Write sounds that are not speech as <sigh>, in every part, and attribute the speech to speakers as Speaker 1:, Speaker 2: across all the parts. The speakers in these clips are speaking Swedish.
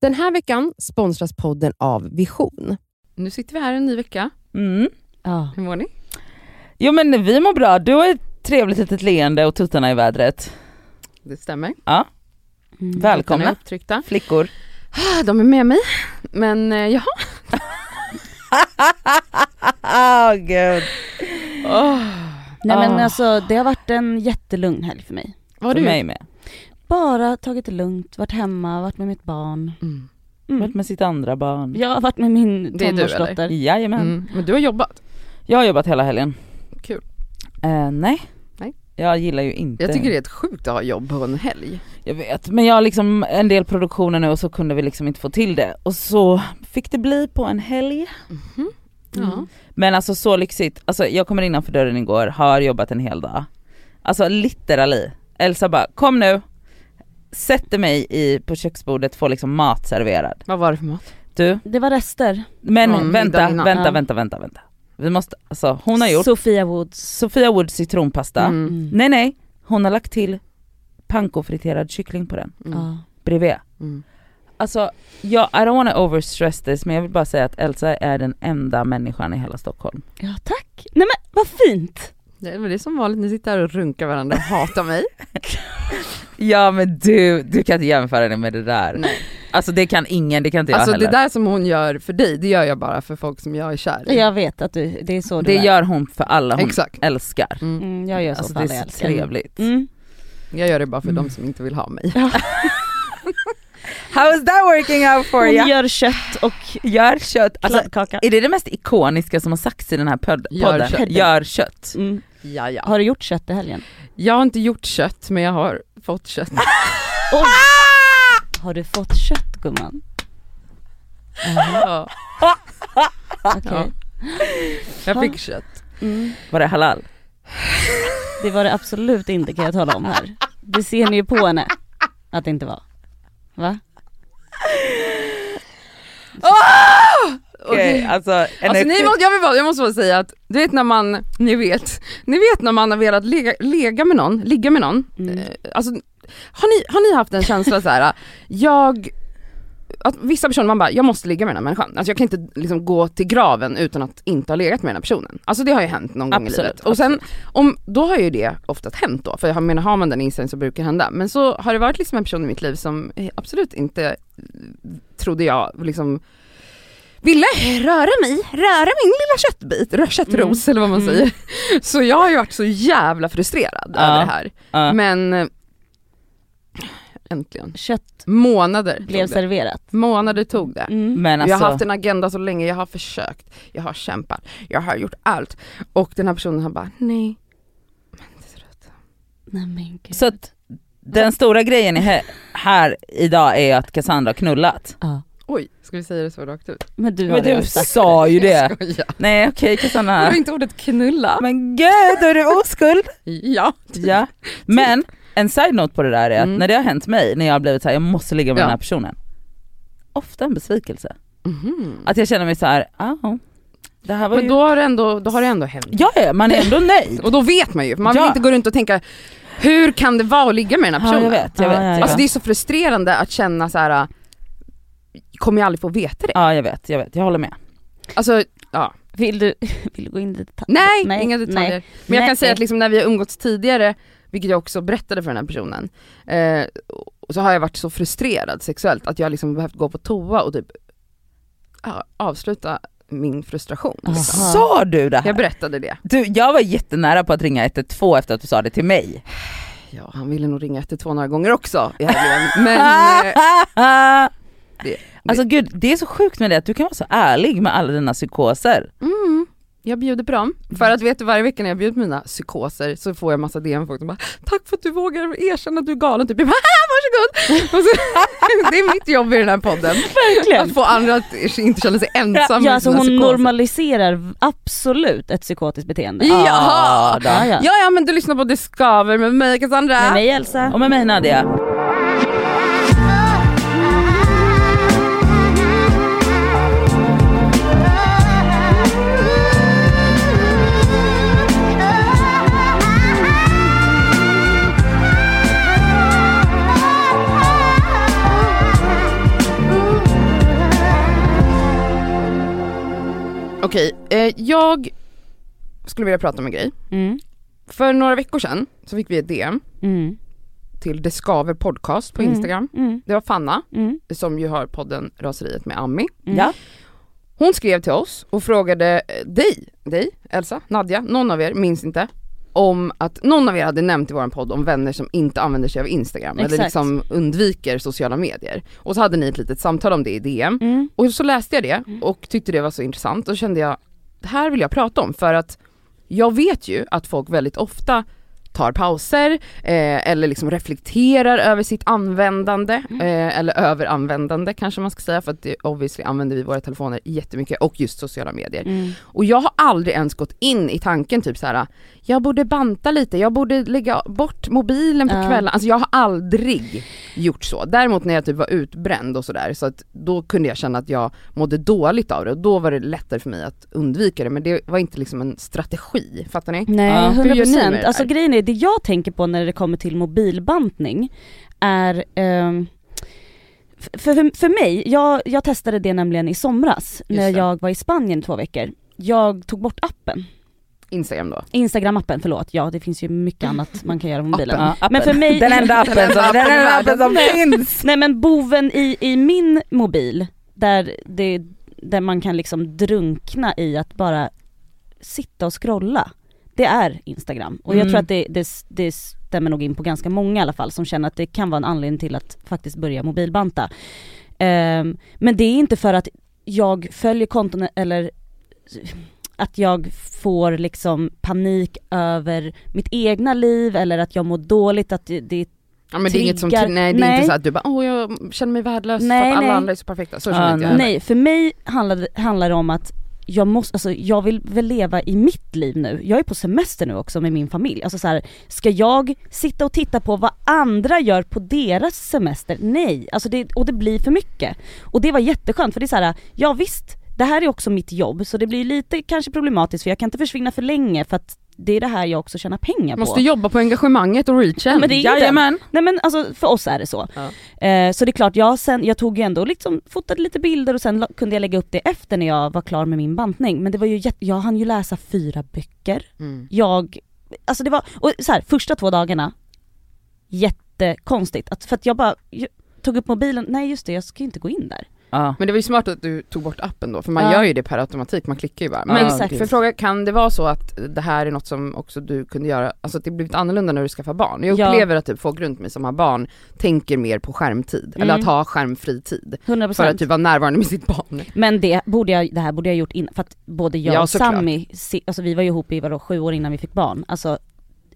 Speaker 1: Den här veckan sponsras podden av Vision.
Speaker 2: Nu sitter vi här en ny vecka.
Speaker 3: Mm.
Speaker 2: Hur mår ni?
Speaker 3: Jo men vi mår bra, du har ett trevligt litet leende och tuttarna i vädret.
Speaker 2: Det stämmer. Mm,
Speaker 3: Ja.
Speaker 2: Tuttarna är
Speaker 3: Välkomna
Speaker 2: upptryckta.
Speaker 3: flickor.
Speaker 2: Ah, De är med mig. Men eh, jaha.
Speaker 3: Ah gud.
Speaker 4: Nej men
Speaker 3: Ah.
Speaker 4: alltså det har varit en jättelugn helg för mig.
Speaker 2: Vad har
Speaker 3: För
Speaker 2: du
Speaker 3: mig med.
Speaker 4: Bara tagit det lugnt, varit hemma, varit med mitt barn.
Speaker 2: gjort? Mm.
Speaker 3: Varit med sitt andra barn.
Speaker 4: Jag har varit med min
Speaker 2: Det är du,
Speaker 4: tonårsdotter.
Speaker 3: Jajamän.
Speaker 2: Mm. Men du har jobbat.
Speaker 3: Jag har jobbat hela helgen.
Speaker 2: Kul.
Speaker 3: Eh, nej.
Speaker 2: Nej.
Speaker 3: Jag gillar ju inte.
Speaker 2: Jag tycker det är ett sjukt att ha jobb på en helg.
Speaker 3: Jag vet, men jag har liksom en del produktioner nu och så kunde vi liksom inte få till det. Och så fick det bli på en helg.
Speaker 4: Mm.
Speaker 2: Ja.
Speaker 3: Men alltså så lyxigt. Alltså jag kommer innanför dörren igår, har jobbat en hel dag. Alltså literally. Elsa bara, kom nu. Sätter mig i, på köksbordet, får liksom mat serverad.
Speaker 2: Vad var det för mat?
Speaker 3: Du,
Speaker 4: Det var rester.
Speaker 3: men
Speaker 2: Mm,
Speaker 3: vänta,
Speaker 2: middagen innan.
Speaker 3: vänta,
Speaker 4: Ja.
Speaker 3: vänta, vänta, vänta. Vi måste, alltså hon har gjort
Speaker 4: Sofia Woods.
Speaker 3: Sofia Woods citronpasta.
Speaker 2: Mm.
Speaker 4: Mm.
Speaker 3: Nej nej, hon har lagt till pankofriterad kyckling på den,
Speaker 2: Mm.
Speaker 4: Ja.
Speaker 3: bredvid.
Speaker 2: Mm.
Speaker 3: Alltså, jag, I don't wanna overstress this men jag vill bara säga att Elsa är den enda människan i hela Stockholm.
Speaker 4: ja tack. Nej men vad fint.
Speaker 2: Det är väl det som vanligt, ni sitter här och runkar varandra och hatar mig.
Speaker 3: Ja men du, du kan inte jämföra det med det där.
Speaker 2: Nej.
Speaker 3: Alltså det kan ingen, det kan inte jag
Speaker 2: Alltså
Speaker 3: heller.
Speaker 2: <laughs> det där som hon gör för dig, det gör jag bara för folk som jag är kär i.
Speaker 4: Jag vet att du, det är så du
Speaker 3: det
Speaker 4: är.
Speaker 3: gör hon för alla hon
Speaker 2: Exakt.
Speaker 3: älskar.
Speaker 2: Mm.
Speaker 4: Mm, jag gör så
Speaker 3: Alltså
Speaker 4: för
Speaker 3: det är
Speaker 4: alla
Speaker 3: så
Speaker 4: jag älskar.
Speaker 3: trevligt.
Speaker 4: Mm.
Speaker 2: Jag gör det bara för de som inte vill ha mig.
Speaker 3: How is that working out for
Speaker 4: Hon
Speaker 3: you?
Speaker 4: gör kött och
Speaker 3: Gör kött. Alltså,
Speaker 4: kladdkaka.
Speaker 3: är det det mest ikoniska som har sagts i den här pod-
Speaker 2: Gör
Speaker 3: podden?
Speaker 2: kött.
Speaker 3: Gör kött.
Speaker 4: Mm.
Speaker 2: <laughs> Ja, ja.
Speaker 4: Har du gjort kött i helgen?
Speaker 2: Jag har inte gjort kött, men jag har fått <laughs> kött.
Speaker 4: Oj.
Speaker 3: Ah!
Speaker 4: Har du fått kött gumman?
Speaker 2: Ja,
Speaker 4: Okej.
Speaker 2: Ja. jag fick kött.
Speaker 4: Mm.
Speaker 3: Var det halal?
Speaker 4: Det var det absolut inte kan jag tala om här. Det ser ni ju på henne att det inte var. Va?
Speaker 3: Okej, alltså, en
Speaker 2: Alltså, ni måste, jag, vill bara, jag måste bara säga att du vet när man, ni vet, ni vet när man har velat lega, lega med någon, ligga med någon.
Speaker 4: Mm.
Speaker 3: Mm.
Speaker 2: Eh, Alltså, har, ni, har ni haft en känsla så här, jag, att vissa personer man bara, jag måste ligga med den här människan. Alltså jag kan inte liksom gå till graven utan att inte ha legat med den här personen. Alltså det har ju hänt någon gång i
Speaker 3: Absolut,
Speaker 2: livet. Och sen, om, då har ju det oftast hänt då, för jag menar har man den inställningen så brukar det hända. Men så har det varit liksom en person i mitt liv som eh, absolut inte eh, trodde jag liksom ville röra mig, röra min lilla köttbit, rö- köttros
Speaker 3: Mm.
Speaker 2: eller vad man säger. Så jag har ju varit så jävla frustrerad
Speaker 3: Ja.
Speaker 2: över det här.
Speaker 3: Ja.
Speaker 2: Men eh, äntligen.
Speaker 4: Kött
Speaker 2: Månader
Speaker 4: blev
Speaker 2: tog det.
Speaker 4: serverat.
Speaker 2: Månader tog det.
Speaker 4: Mm.
Speaker 3: men alltså,
Speaker 2: Jag har haft en agenda så länge, jag har försökt, jag har kämpat, jag har gjort allt. Och den här personen har bara, nej. Men det är trött.
Speaker 4: Nej men gud.
Speaker 3: så att den stora grejen är he- här idag är att Cassandra har knullat.
Speaker 4: Ja.
Speaker 2: Oj, ska vi säga det så rakt ut?
Speaker 4: Men du har
Speaker 3: Men du
Speaker 4: det sagt.
Speaker 3: sa
Speaker 2: <laughs>
Speaker 3: ju det.
Speaker 2: Skoja.
Speaker 3: Nej okej
Speaker 2: Var
Speaker 3: Cassandra.
Speaker 2: det inte ordet knulla?
Speaker 3: Men gud, då är du oskuld.
Speaker 2: Ja.
Speaker 3: <laughs> Ja, men en side-note på det där är att
Speaker 2: Mm.
Speaker 3: när det har hänt mig, när jag har blivit så här, jag måste ligga med
Speaker 2: Ja.
Speaker 3: den här personen. Ofta en besvikelse.
Speaker 2: Mhm.
Speaker 3: Att jag känner mig så här, "Ah, ja, det här var
Speaker 2: Men
Speaker 3: ju...
Speaker 2: då har det ändå, då har det ändå hänt.
Speaker 3: Ja, ja, man är ändå nöjd. <laughs>
Speaker 2: Och då vet man ju, för man
Speaker 3: Ja.
Speaker 2: vill inte gå runt och tänka hur kan det vara att ligga med den här
Speaker 3: Ja,
Speaker 2: personen?
Speaker 3: jag vet, jag
Speaker 4: Ja,
Speaker 3: vet.
Speaker 4: ja,
Speaker 3: Ja,
Speaker 4: ja.
Speaker 2: Alltså det är så frustrerande att känna så här. kommer jag aldrig få veta det?
Speaker 3: ja jag vet, jag vet, jag håller med.
Speaker 2: Alltså
Speaker 4: Vill du, vill du gå in i detalj?
Speaker 2: nej,
Speaker 4: Nej,
Speaker 2: inga detaljer.
Speaker 4: nej.
Speaker 2: Men jag kan
Speaker 4: Nej.
Speaker 2: säga att liksom när vi har umgåtts tidigare, vilket jag också berättade för den här personen, eh, så har jag varit så frustrerad sexuellt att jag liksom behövt gå på toa och typ ja, avsluta min frustration. Liksom.
Speaker 4: Aha.
Speaker 3: Sa du det
Speaker 2: Jag
Speaker 3: här?
Speaker 2: berättade det.
Speaker 3: Du, jag var jättenära på att ringa 112 efter att du sa det till mig.
Speaker 2: Ja, han ville nog ringa 112 några gånger också i helgen. Men
Speaker 3: <laughs>
Speaker 2: eh, det-
Speaker 3: alltså gud, det är så sjukt med det att du kan vara så ärlig med alla dina psykoser.
Speaker 2: Mm. Jag bjuder på dem. För att vet du varje vecka när jag bjuder på mina psykoser så får jag massa DM folk som bara “tack för att du vågar erkänna att du är galen” typ. Jag bara "Haha, “varsågod”. Och så, <laughs> det är mitt jobb i den här podden.
Speaker 4: Verkligen.
Speaker 2: Att få andra att inte känna sig ensamma
Speaker 4: Ja
Speaker 2: med
Speaker 4: alltså
Speaker 2: sina
Speaker 4: hon
Speaker 2: psykoser.
Speaker 4: normaliserar absolut ett psykotiskt beteende.
Speaker 2: Jaha!
Speaker 3: Ah, då.
Speaker 4: Ja, ja.
Speaker 2: Ja ja men du lyssnar på Det skaver med mig Cassandra.
Speaker 4: Med mig Elsa.
Speaker 3: Och med mig Nadia.
Speaker 5: Ooh.
Speaker 2: Okej, eh, jag skulle vilja prata om en grej.
Speaker 4: Mm.
Speaker 2: För några veckor sedan så fick vi ett DM
Speaker 4: Mm.
Speaker 2: till Det Skaver Podcast på
Speaker 4: Mm.
Speaker 2: Instagram.
Speaker 4: Mm.
Speaker 2: Det var Fanna
Speaker 4: Mm.
Speaker 2: som ju har podden Raseriet med Ami.
Speaker 4: Mm.
Speaker 3: Ja.
Speaker 2: Hon skrev till oss och frågade eh, dig, dig, Elsa, Nadja, någon av er, minns inte, om att någon av er hade nämnt i vår podd om vänner som inte använder sig av Instagram eller
Speaker 4: Exakt.
Speaker 2: liksom undviker sociala medier. Och så hade ni ett litet samtal om det i DM.
Speaker 4: Mm.
Speaker 2: Och så läste jag det och tyckte det var så intressant och kände jag, det här vill jag prata om för att jag vet ju att folk väldigt ofta tar pauser eh, eller liksom reflekterar över sitt användande
Speaker 4: Mm.
Speaker 2: eh, eller överanvändande kanske man ska säga för att det, obviously använder vi våra telefoner jättemycket och just sociala medier.
Speaker 4: Mm.
Speaker 2: Och jag har aldrig ens gått in i tanken typ så här. jag borde banta lite, jag borde lägga bort mobilen på
Speaker 4: Ja.
Speaker 2: kvällen. Alltså jag har aldrig gjort så. Däremot när jag typ var utbränd och sådär så att då kunde jag känna att jag mådde dåligt av det och då var det lättare för mig att undvika det men det var inte liksom en strategi, fattar ni?
Speaker 4: Nej,
Speaker 3: Ja.
Speaker 2: Hur gör ni med
Speaker 4: 100%.
Speaker 2: det här?
Speaker 4: alltså grejen är, det jag tänker på när det kommer till mobilbantning är ehm, f- för, för, för mig, jag, jag testade det nämligen i somras när
Speaker 2: Just det.
Speaker 4: jag var i Spanien två veckor. Jag tog bort appen,
Speaker 2: Instagram då.
Speaker 4: Instagram-appen förlåt, ja det finns
Speaker 2: <laughs>
Speaker 4: ju mycket annat man kan göra på mobilen.
Speaker 3: Ja, appen.
Speaker 4: Men för mig-
Speaker 3: Den enda appen som, den enda
Speaker 2: <laughs>
Speaker 3: appen som finns!
Speaker 4: Nej men boven i, i min mobil, där, det, där man kan liksom drunkna i att bara sitta och scrolla, det är Instagram. Och jag
Speaker 2: Mm.
Speaker 4: tror att det, det, det stämmer nog in på ganska många i alla fall som känner att det kan vara en anledning till att faktiskt börja mobilbanta. Ehm, men det är inte för att jag följer konton eller att jag får liksom panik över mitt egna liv eller att jag mår dåligt, att det, det är
Speaker 2: Ja men det är inget som,
Speaker 4: Triggar-
Speaker 2: nej det är inte
Speaker 4: nej.
Speaker 2: så att du bara åh jag känner mig värdelös för
Speaker 4: Nej,
Speaker 2: att alla
Speaker 4: nej.
Speaker 2: andra är så perfekta, så
Speaker 3: Ja,
Speaker 2: känner inte jag heller.
Speaker 4: Nej, för mig handlar, handlar det om att jag måste, alltså jag vill väl leva i mitt liv nu. Jag är på semester nu också med min familj. Alltså så här, ska jag sitta och titta på vad andra gör på deras semester? Nej, alltså det, och det blir för mycket. Och det var jätteskönt för det är så här, ja visst, det här är också mitt jobb så det blir lite kanske problematiskt för jag kan inte försvinna för länge för att det är det här jag också tjänar pengar på.
Speaker 2: Måste jobba på engagemanget och reachen.
Speaker 4: men det är ju
Speaker 3: Jajamän!
Speaker 4: Nej men alltså för oss är det så.
Speaker 2: Ja.
Speaker 4: Eh, så det är klart, jag, sen, jag tog ju ändå liksom, fotade lite bilder och sen la, kunde jag lägga upp det efter när jag var klar med min bantning. Men det var ju jätte, jag hann ju läsa fyra böcker.
Speaker 2: Mm.
Speaker 4: Jag, alltså det var, och så här, första två dagarna, jättekonstigt. Att, för att jag bara jag tog upp mobilen, nej just det jag ska ju inte gå in där.
Speaker 3: Ja.
Speaker 2: Men det var ju smart att du tog bort appen då, för man
Speaker 4: Ja.
Speaker 2: gör ju det per automatik, man klickar ju bara.
Speaker 3: Ja,
Speaker 2: Men
Speaker 4: exakt.
Speaker 2: för fråga, kan det vara så att det här är något som också du kunde göra, alltså att det blivit annorlunda när du skaffar barn? Jag
Speaker 4: Ja.
Speaker 2: upplever att typ folk runt mig som har barn tänker mer på skärmtid, eller
Speaker 4: Mm.
Speaker 2: att ha skärmfri tid.
Speaker 4: 100%.
Speaker 2: För att typ vara närvarande med sitt barn.
Speaker 4: Men det, borde jag, det här borde jag gjort innan, för att både jag
Speaker 2: Ja,
Speaker 4: och
Speaker 2: såklart.
Speaker 4: Sammy, si- alltså vi var ju ihop i vadå, sju år innan vi fick barn. Alltså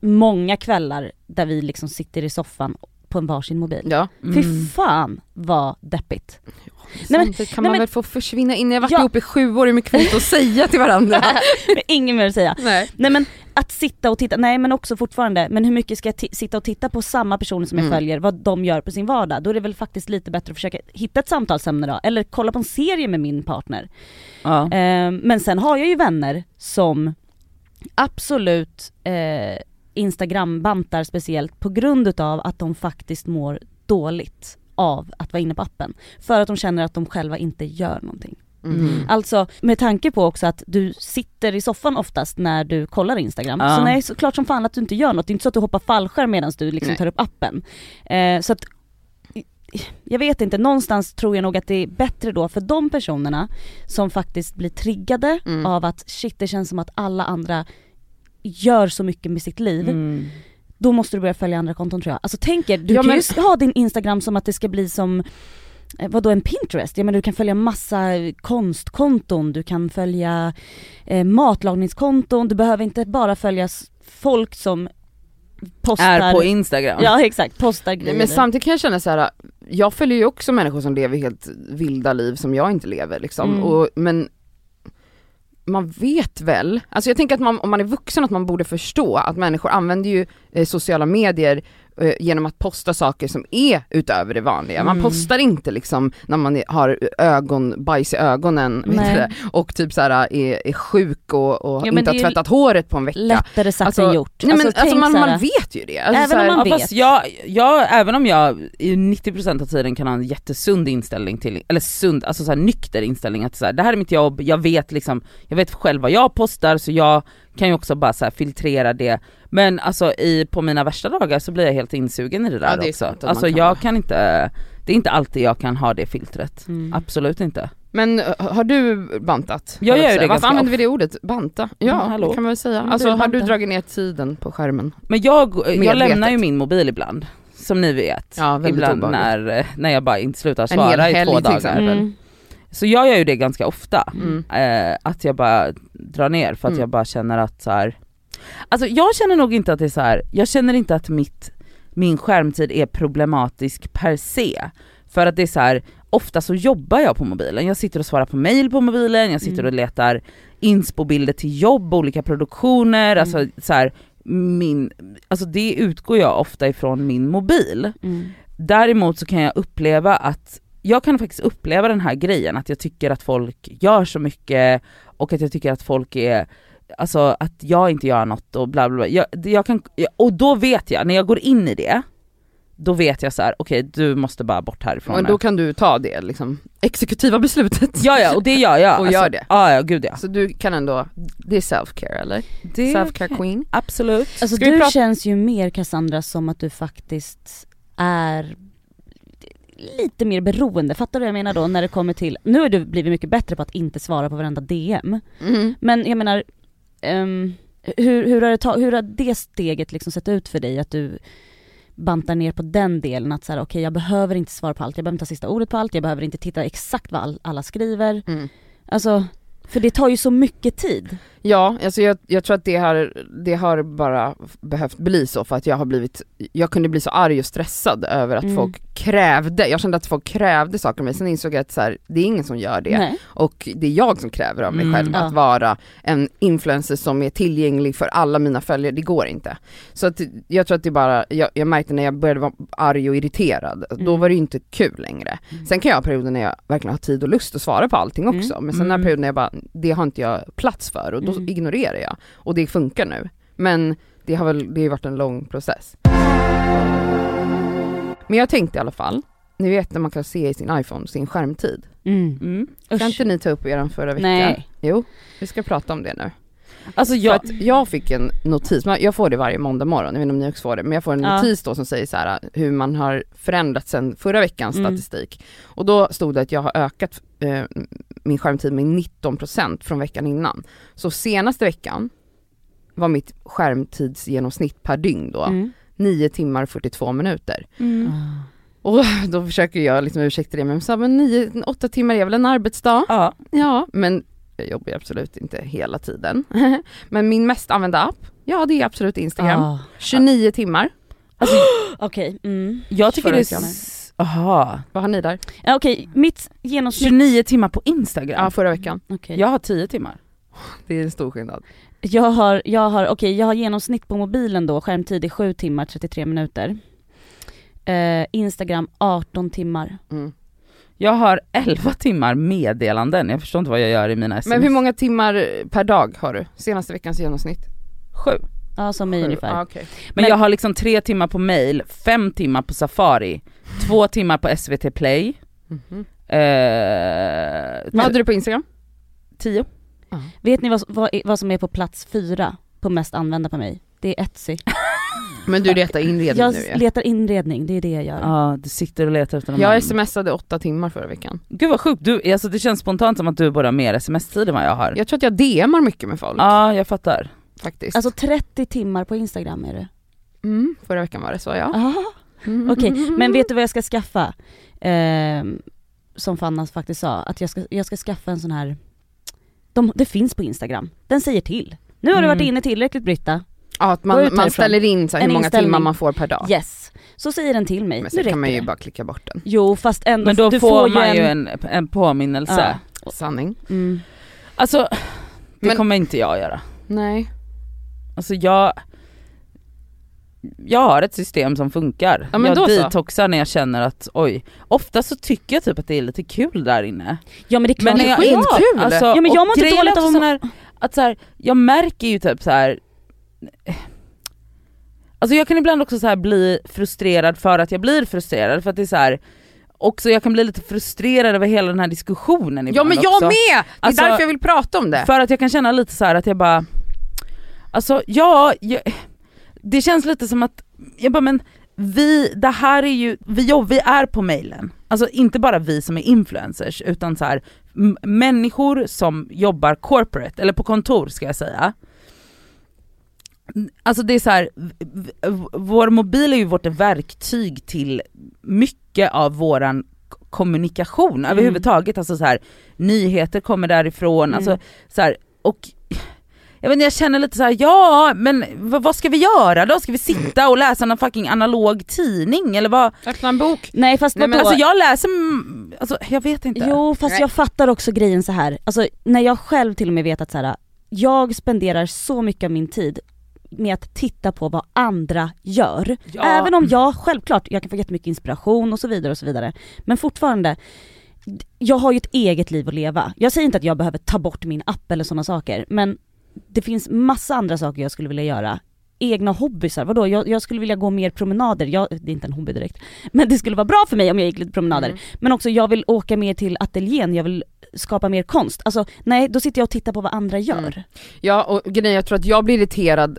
Speaker 4: många kvällar där vi liksom sitter i soffan på en varsin mobil.
Speaker 2: Ja.
Speaker 4: Fy
Speaker 3: mm.
Speaker 2: Mm.
Speaker 4: fan vad deppigt.
Speaker 2: Nej,
Speaker 4: Nej,
Speaker 2: men,
Speaker 4: men-
Speaker 2: Samtidigt kan
Speaker 4: nej,
Speaker 2: man
Speaker 4: men-
Speaker 2: väl få försvinna in, jag har varit
Speaker 4: Ja.
Speaker 2: ihop i sju år, hur mycket finns det att säga till varandra?
Speaker 4: Men Inget mer att säga.
Speaker 2: <laughs> Nej.
Speaker 4: Nej men att sitta och titta, nej men också fortfarande, men hur mycket ska jag ti- sitta och titta på samma person som jag
Speaker 2: Mm.
Speaker 4: följer, vad de gör på sin vardag? Då är det väl faktiskt lite bättre att försöka hitta ett samtalsämne då, eller kolla på en serie med min partner.
Speaker 3: Ja.
Speaker 4: Eh, men sen har jag ju vänner som absolut eh, Instagram-bantar speciellt på grund utav att de faktiskt mår dåligt av att vara inne på appen. För att de känner att de själva inte gör någonting.
Speaker 2: Mm.
Speaker 4: Alltså med tanke på också att du sitter i soffan oftast när du kollar Instagram.
Speaker 3: Ja.
Speaker 4: Så nej, såklart som fan att du inte gör något. Det är inte så att du hoppar fallskärm medan du liksom
Speaker 2: Nej.
Speaker 4: tar upp appen. Eh, så att, jag vet inte, någonstans tror jag nog att det är bättre då för de personerna som faktiskt blir triggade
Speaker 2: Mm.
Speaker 4: av att shit det känns som att alla andra gör så mycket med sitt liv.
Speaker 2: Mm.
Speaker 4: Då måste du börja följa andra konton tror jag. Alltså tänk er, du
Speaker 2: Ja,
Speaker 4: kan
Speaker 2: men-
Speaker 4: ju ha din Instagram som att det ska bli som eh, Vadå en Pinterest? Ja men du kan följa massa konstkonton, du kan följa eh, matlagningskonton, du behöver inte bara följa s- folk som postar...
Speaker 3: Är på Instagram.
Speaker 4: Ja exakt, postar
Speaker 2: Nej,
Speaker 4: grejer.
Speaker 2: men samtidigt kan jag känna så här. jag följer ju också människor som lever helt vilda liv som jag inte lever liksom.
Speaker 4: Mm.
Speaker 2: Och, men man vet väl, alltså jag tänker att man, om man är vuxen att man borde förstå att människor använder ju eh, sociala medier eh, genom att posta saker som är utöver det vanliga.
Speaker 4: Mm.
Speaker 2: Man postar inte liksom när man är, har ögonbajs i ögonen vet
Speaker 4: Nej.
Speaker 2: du, det, och typ så här, är, är sjuk och, och
Speaker 4: Ja, men
Speaker 2: inte
Speaker 4: det
Speaker 2: har
Speaker 4: är ju
Speaker 2: tvättat håret på en vecka.
Speaker 4: Lättare sagt
Speaker 2: Alltså,
Speaker 4: än gjort.
Speaker 2: Nej, men, alltså,
Speaker 4: tänk
Speaker 2: man,
Speaker 4: så här,
Speaker 2: man vet ju det. Alltså,
Speaker 4: Även
Speaker 2: så här,
Speaker 4: om
Speaker 2: ja,
Speaker 4: man
Speaker 3: Ja,
Speaker 4: vet.
Speaker 3: fast jag, jag, även om jag i 90% av tiden kan ha en jättesund inställning till, eller sund, alltså så här nykter inställning att så här, det här är mitt jobb, jag vet liksom, jag vet själv vad jag postar så jag kan ju också bara så här filtrera det. Men alltså i, på mina värsta dagar så blir jag helt insugen i det där
Speaker 2: Ja, det är sant
Speaker 3: också.
Speaker 2: att man
Speaker 3: Alltså
Speaker 2: kan
Speaker 3: jag
Speaker 2: vara.
Speaker 3: kan inte, det är inte alltid jag kan ha det filtret.
Speaker 4: Mm.
Speaker 3: Absolut inte.
Speaker 2: Men eh, har du bantat?
Speaker 3: Jag
Speaker 2: höll
Speaker 3: gör
Speaker 2: på att
Speaker 3: det
Speaker 2: säga.
Speaker 3: ganska
Speaker 2: Varför använder vi det ordet? Banta? Ja,
Speaker 3: Mm, hallå.
Speaker 2: det kan man väl säga.
Speaker 3: men
Speaker 2: Alltså
Speaker 3: du
Speaker 2: har du
Speaker 3: bantar.
Speaker 2: dragit ner tiden på skärmen?
Speaker 3: Men jag, jag
Speaker 2: Medvetet.
Speaker 3: lämnar ju min mobil ibland, som ni vet.
Speaker 2: Ja, väldigt
Speaker 3: ibland
Speaker 2: obehagligt.
Speaker 3: när, eh, när jag bara inte slutar
Speaker 2: En hel
Speaker 3: svara i
Speaker 2: helg
Speaker 3: två
Speaker 2: till
Speaker 3: dagar.
Speaker 2: exempel.
Speaker 4: Mm.
Speaker 3: Så jag gör ju det ganska ofta.
Speaker 2: Mm.
Speaker 3: eh, att jag bara drar ner för att
Speaker 2: Mm.
Speaker 3: jag bara känner att så här. Alltså jag känner nog inte att det är så här. jag känner inte att mitt, min skärmtid är problematisk per se. För att det är så här. ofta så jobbar jag på mobilen, jag sitter och svarar på mail på mobilen, jag sitter
Speaker 4: Mm.
Speaker 3: och letar inspobilder till jobb, olika produktioner, alltså så här, min, alltså det utgår jag ofta ifrån min mobil.
Speaker 4: Mm.
Speaker 3: Däremot så kan jag uppleva att, jag kan faktiskt uppleva den här grejen att jag tycker att folk gör så mycket och att jag tycker att folk är, alltså att jag inte gör något och bla bla bla. Jag, det- jag kan, jag- och då vet jag, när jag går in i det, då vet jag så här: okej du måste bara bort härifrån
Speaker 2: Och
Speaker 3: nu.
Speaker 2: då kan du ta det liksom, exekutiva beslutet.
Speaker 3: Ja ja och det gör
Speaker 2: <laughs> Och
Speaker 3: jag. alltså,
Speaker 2: gör det.
Speaker 3: Ja ja gud ja.
Speaker 2: Så du kan ändå, det är self-care eller? Self-care queen.
Speaker 3: absolut.
Speaker 4: Alltså
Speaker 2: Ska vi
Speaker 4: du
Speaker 2: prata-
Speaker 4: känns ju mer Cassandra som att du faktiskt är lite mer beroende, fattar du vad jag menar då när det kommer till, nu har du blivit mycket bättre på att inte svara på varenda DM.
Speaker 3: Mm.
Speaker 4: Men jag menar, ehm, hur, hur, har det ta, hur har det steget liksom sett ut för dig? Att du bantar ner på den delen att så här, okej jag behöver inte svara på allt, jag behöver inte ta sista ordet på allt, jag behöver inte titta exakt vad all, alla skriver.
Speaker 2: Mm.
Speaker 4: Alltså, för det tar ju så mycket tid.
Speaker 2: Ja, alltså jag, jag tror att det har, det har bara f- behövt bli så för att jag har blivit, jag kunde bli så arg och stressad över att
Speaker 4: Mm.
Speaker 2: folk krävde, jag kände att folk krävde saker av mig, sen insåg jag att så här, det är ingen som gör det.
Speaker 4: Nej.
Speaker 2: Och det är jag som kräver av mig
Speaker 3: Mm.
Speaker 2: själv
Speaker 4: Ja.
Speaker 2: att vara en influencer som är tillgänglig för alla mina följare, det går inte. Så att jag tror att det är bara, jag, jag märkte när jag började vara arg och irriterad, då
Speaker 4: Mm.
Speaker 2: var det ju inte kul längre. Sen kan jag ha perioder när jag verkligen har tid och lust att svara på allting också, men sen har
Speaker 3: Mm.
Speaker 2: jag perioder när jag bara, det har inte jag plats för och då
Speaker 4: Mm.
Speaker 2: ignorerar jag. Och det funkar nu. Men det har väl, det har ju varit en lång process. Men jag tänkte i alla fall, ni vet när man kan se i sin iPhone sin skärmtid.
Speaker 4: Mm.
Speaker 3: Mm.
Speaker 2: Kan
Speaker 4: Usch.
Speaker 2: inte ni ta upp er förra veckan?
Speaker 4: Nej.
Speaker 2: Jo, vi ska prata om det nu.
Speaker 3: Alltså
Speaker 2: För
Speaker 3: jag,
Speaker 2: att jag fick en notis, men jag får det varje måndag morgon, jag vet inte om ni också får det, men jag får en
Speaker 4: Ja.
Speaker 2: notis då som säger så här hur man har förändrats sedan förra veckans
Speaker 4: Mm.
Speaker 2: statistik. Och då stod det att jag har ökat eh, min skärmtid med 19% från veckan innan. Så senaste veckan var mitt skärmtidsgenomsnitt per dygn då
Speaker 4: Mm.
Speaker 2: 9 timmar 42 minuter. Och <laughs> då försöker jag liksom ursäkta det med att 9-8 timmar är väl en arbetsdag?
Speaker 3: ja.
Speaker 2: Ja, men jag jobbar ju absolut inte hela tiden. <laughs> men min mest använda app, ja det är absolut Instagram.
Speaker 4: Ah.
Speaker 2: 29 timmar.
Speaker 4: Okej, mm.
Speaker 3: Jag tycker
Speaker 2: Förra
Speaker 3: det är,
Speaker 2: veckan.
Speaker 3: s- aha.
Speaker 2: Vad har ni där?
Speaker 4: Ja, okej, mitt genomsnitt...
Speaker 3: 29 timmar på
Speaker 2: Ja,
Speaker 3: Instagram.
Speaker 2: förra veckan.
Speaker 4: Okej.
Speaker 3: Jag har 10 timmar.
Speaker 2: Det är en stor skillnad.
Speaker 4: Jag har, jag har, okej jag har genomsnitt på mobilen då, skärmtid är 7 timmar 33 minuter. Eh, Instagram 18 timmar.
Speaker 2: Mm.
Speaker 3: Jag har 11 timmar meddelanden, jag förstår inte vad jag gör i mina sms.
Speaker 2: Men hur många timmar per dag har du? Senaste veckans genomsnitt?
Speaker 3: Sju.
Speaker 4: Ja som mig ungefär.
Speaker 2: Ah, okej.
Speaker 3: Men,
Speaker 4: Men-
Speaker 3: jag har liksom 3 timmar på mail, 5 timmar på Safari, 2 timmar på SVT Play,
Speaker 2: Mhm.
Speaker 3: eh,
Speaker 2: Vad hade du på Instagram?
Speaker 3: 10.
Speaker 4: Vet ni vad, vad, är- vad som är på plats fyra på mest använda på mig? Det är Etsy.
Speaker 2: Men du letar inredning
Speaker 4: Jag
Speaker 2: nu ju.
Speaker 4: letar inredning, det är det jag gör.
Speaker 3: Ja du sitter och letar efter de här-
Speaker 2: Jag smsade åtta timmar förra veckan.
Speaker 3: Gud vad sjukt, du, alltså det känns spontant som att du borde ha mer sms-tid än vad jag har. Ja
Speaker 2: Jag tror att jag DMar mycket med folk
Speaker 3: jag fattar.
Speaker 2: faktiskt.
Speaker 4: Alltså 30 timmar på Instagram är det.
Speaker 2: mm, förra veckan var det så ja.
Speaker 4: Ah,
Speaker 2: Mm.
Speaker 4: Okej,
Speaker 2: <laughs>
Speaker 4: men vet du vad jag ska skaffa? Ehm, som Fanna faktiskt sa, att jag ska, jag ska skaffa en sån här, de, det finns på Instagram, den säger till. Nu har du
Speaker 3: Mm.
Speaker 4: varit inne tillräckligt Britta,
Speaker 2: Ja, att
Speaker 4: Gå ut
Speaker 2: man, man
Speaker 4: härifrån.
Speaker 2: ställer in så här,
Speaker 4: En
Speaker 2: hur många
Speaker 4: inställning.
Speaker 2: timmar man får per dag.
Speaker 4: yes. Så säger den till mig,
Speaker 2: Men
Speaker 4: nu
Speaker 2: sen
Speaker 4: räcker
Speaker 2: kan man ju
Speaker 4: det.
Speaker 2: bara klicka bort den.
Speaker 4: Jo fast ändå,
Speaker 3: Men då
Speaker 4: Alltså, du
Speaker 3: får, man ju en, en, påminnelse.
Speaker 4: Ja.
Speaker 2: Sanning.
Speaker 4: Mm.
Speaker 3: Alltså det
Speaker 2: Men-
Speaker 3: kommer inte jag göra.
Speaker 2: Nej.
Speaker 3: Alltså jag, jag har ett system som funkar.
Speaker 2: Ja, men då
Speaker 3: jag
Speaker 2: så.
Speaker 3: detoxar när jag känner att oj, ofta så tycker jag typ att det är lite kul där inne.
Speaker 4: Ja men det är klart.
Speaker 3: Men när jag,
Speaker 2: det är skitkul.
Speaker 3: Alltså,
Speaker 4: Ja, men jag
Speaker 3: och
Speaker 4: mår inte
Speaker 3: grejen är
Speaker 4: dåligt av
Speaker 3: också sån
Speaker 4: att-
Speaker 3: här, att så här, jag märker ju typ så här. Alltså jag kan ibland också så här bli frustrerad för att jag blir frustrerad för att det är så här också jag kan bli lite frustrerad över hela den här diskussionen
Speaker 2: Ja
Speaker 3: ibland
Speaker 2: men jag
Speaker 3: också.
Speaker 2: med! Det är
Speaker 3: Alltså-
Speaker 2: därför jag vill prata om det.
Speaker 3: För att jag kan känna lite så här att jag bara, alltså ja, jag, det känns lite som att, jag bara men vi, det här är ju, vi, jo, vi är på mailen. Alltså inte bara vi som är influencers utan så här m- människor som jobbar corporate, eller på kontor ska jag säga. Alltså det är så här, v- v- vår mobil är ju vårt verktyg till mycket av våran k- kommunikation överhuvudtaget. Alltså så här, nyheter kommer därifrån, alltså så här, och jag, vet inte, jag känner lite så här: ja men v- vad ska vi göra då? Ska vi sitta och läsa någon fucking analog tidning eller vad?
Speaker 2: Öppna en bok.
Speaker 4: Nej fast
Speaker 2: Nej,
Speaker 4: vadå?
Speaker 2: men
Speaker 3: Alltså jag läser, mm, alltså, jag vet inte.
Speaker 4: Jo fast
Speaker 2: Nej.
Speaker 4: jag fattar också grejen så här. alltså när jag själv till och med vet att så här, jag spenderar så mycket av min tid med att titta på vad andra gör.
Speaker 3: Ja.
Speaker 4: Även om jag självklart, jag kan få jättemycket inspiration och så vidare och så vidare. Men fortfarande, d- jag har ju ett eget liv att leva. Jag säger inte att jag behöver ta bort min app eller sådana saker men det finns massa andra saker jag skulle vilja göra. Egna hobbysar, vadå? Jag, jag skulle vilja gå mer promenader, jag, det är inte en hobby direkt. <laughs> Men det skulle vara bra för mig om jag gick lite promenader. Men också jag vill åka mer till ateljén, jag vill skapa mer konst. Alltså nej, då sitter jag och tittar på vad andra gör.
Speaker 2: Mm. Ja och grejen jag tror att jag blir irriterad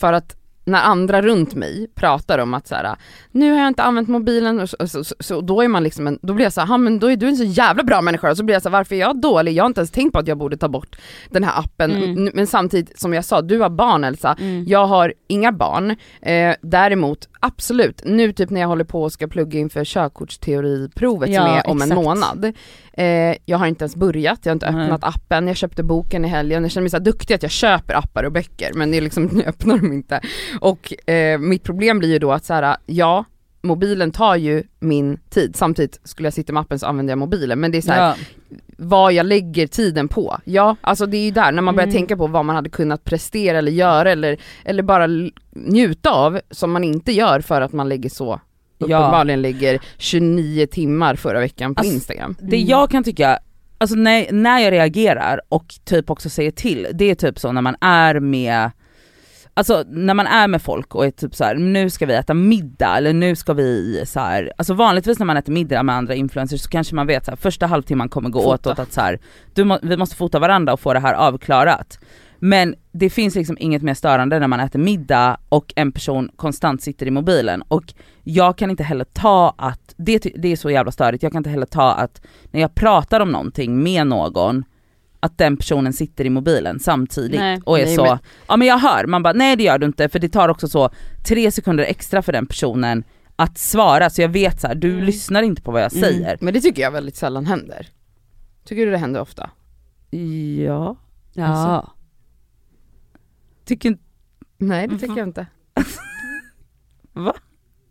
Speaker 2: för att när andra runt mig pratar om att så här, nu har jag inte använt mobilen och så, och så, så, så då är man liksom en, då blir jag så här, "Ha, men då är du en så jävla bra människa och så blir jag så här, varför är jag dålig? Jag har inte ens tänkt på att jag borde ta bort den här appen. N- Men samtidigt som jag sa, du har barn Elsa,
Speaker 4: Mm.
Speaker 2: jag har inga barn. Eh, däremot absolut, nu typ när jag håller på och ska plugga inför körkortsteoriprovet som
Speaker 4: Ja,
Speaker 2: är om en
Speaker 4: exakt.
Speaker 2: månad. Eh, jag har inte ens börjat, jag har inte
Speaker 3: Nej.
Speaker 2: öppnat appen, jag köpte boken i helgen, jag känner mig så här duktig att jag köper appar och böcker men det är liksom, <laughs> jag öppnar dem inte. Och eh, mitt problem blir ju då att så här, ja, mobilen tar ju min tid, samtidigt skulle jag sitta med appen så använder jag mobilen men det är så här,
Speaker 3: Ja.
Speaker 2: vad jag lägger tiden på. Ja, alltså det är ju där, när man börjar
Speaker 4: Mm.
Speaker 2: tänka på vad man hade kunnat prestera eller göra eller, eller bara l- njuta av som man inte gör för att man lägger så,
Speaker 3: Ja.
Speaker 2: uppenbarligen lägger 29 timmar förra veckan på
Speaker 3: Alltså,
Speaker 2: Instagram.
Speaker 3: Det jag kan tycka, alltså när, när jag reagerar och typ också säger till, det är typ så när man är med Alltså när man är med folk och är typ så här: nu ska vi äta middag eller nu ska vi så här. alltså vanligtvis när man äter middag med andra influencers så kanske man vet så här, första halvtimman kommer gå åt
Speaker 2: Fota.
Speaker 3: åt att så här, du må, vi måste fota varandra och få det här avklarat. Men det finns liksom inget mer störande när man äter middag och en person konstant sitter i mobilen. Och jag kan inte heller ta att, det, ty- det är så jävla störigt, jag kan inte heller ta att när jag pratar om någonting med någon, att den personen sitter i mobilen samtidigt
Speaker 4: Nej.
Speaker 3: och är
Speaker 2: Nej,
Speaker 3: så,
Speaker 2: men-
Speaker 3: ja men jag hör, man bara nej det gör du inte för det tar också så tre sekunder extra för den personen att svara så jag vet så här, du lyssnar inte på vad jag
Speaker 4: Mm.
Speaker 3: säger.
Speaker 2: Men det tycker jag väldigt sällan händer. Tycker du det händer ofta?
Speaker 3: Ja,
Speaker 4: Ja.
Speaker 3: Alltså. tycker inte
Speaker 2: Nej det tycker jag inte.
Speaker 3: Va?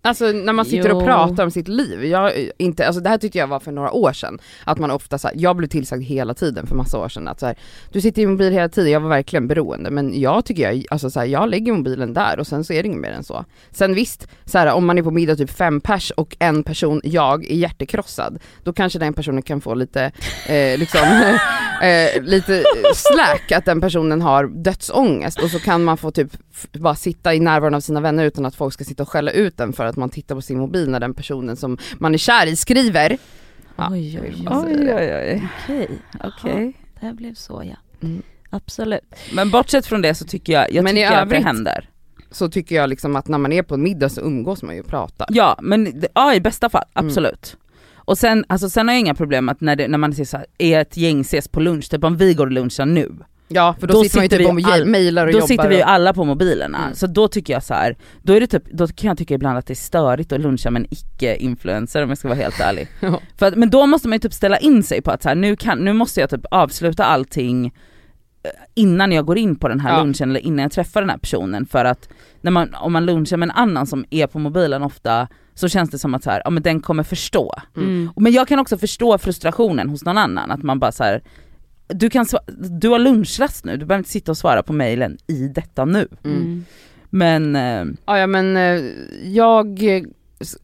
Speaker 2: Alltså när man sitter och
Speaker 4: Jo.
Speaker 2: pratar om sitt liv, jag, inte, alltså det här tyckte jag var för några år sedan, att man ofta så här, jag blev tillsagd hela tiden för massa år sedan att så här, du sitter i mobil hela tiden, jag var verkligen beroende men jag tycker jag, alltså så här, jag lägger mobilen där och sen så är det inget mer än så. Sen visst, så här, om man är på middag typ fem pers och en person, jag, är hjärtekrossad, då kanske den personen kan få lite, eh, liksom, eh, lite slack att den personen har dödsångest och så kan man få typ f- bara sitta i närvaron av sina vänner utan att folk ska sitta och skälla ut den för att man tittar på sin mobil när den personen som man är kär i skriver. Ja,
Speaker 4: Oj,
Speaker 2: jag vill
Speaker 4: oj,
Speaker 2: bara
Speaker 3: Oj
Speaker 2: säga det.
Speaker 3: oj oj.
Speaker 4: Alltså, Okej.
Speaker 3: Okej.
Speaker 4: Ja, det här blev så ja.
Speaker 2: Mm.
Speaker 4: Absolut.
Speaker 3: Men bortsett från det så tycker jag, jag
Speaker 2: Men i
Speaker 3: tycker att det
Speaker 2: övrigt-
Speaker 3: händer.
Speaker 2: Så tycker jag liksom att när man är på en middag så umgås man ju och pratar.
Speaker 3: Ja men det- ja, i bästa fall,
Speaker 2: Mm.
Speaker 3: absolut. Och sen, alltså, sen har jag inga problem att när, det, när man ser så här, är ett gäng ses på lunch, typ om vi går och lunchar nu,
Speaker 2: Ja för då,
Speaker 3: Då
Speaker 2: sitter man ju
Speaker 3: sitter
Speaker 2: typ
Speaker 3: vi
Speaker 2: och
Speaker 3: all-
Speaker 2: all... mejlar och
Speaker 3: då
Speaker 2: jobbar.
Speaker 3: sitter vi ju
Speaker 2: och...
Speaker 3: alla på mobilerna,
Speaker 2: Mm.
Speaker 3: så då tycker jag så här, då, är det typ, då kan jag tycka ibland att det är störigt att luncha med en icke-influencer om jag ska vara helt ärlig.
Speaker 2: <laughs> Ja.
Speaker 3: För att, men då måste man ju typ ställa in sig på att så här, nu, kan, nu måste jag typ avsluta allting eh, innan jag går in på den här
Speaker 2: Ja.
Speaker 3: lunchen eller innan jag träffar den här personen för att när man, om man lunchar med en annan som är på mobilen ofta så känns det som att så här, ja, men den kommer förstå.
Speaker 4: Mm.
Speaker 3: Men jag kan också förstå frustrationen hos någon annan, att man bara så här. Du, kan, sva- du har lunchrast nu, du behöver inte sitta och svara på mejlen i detta nu.
Speaker 2: Mm.
Speaker 4: Mm.
Speaker 3: Men eh,
Speaker 2: Ja, ja men eh, jag... eh, s-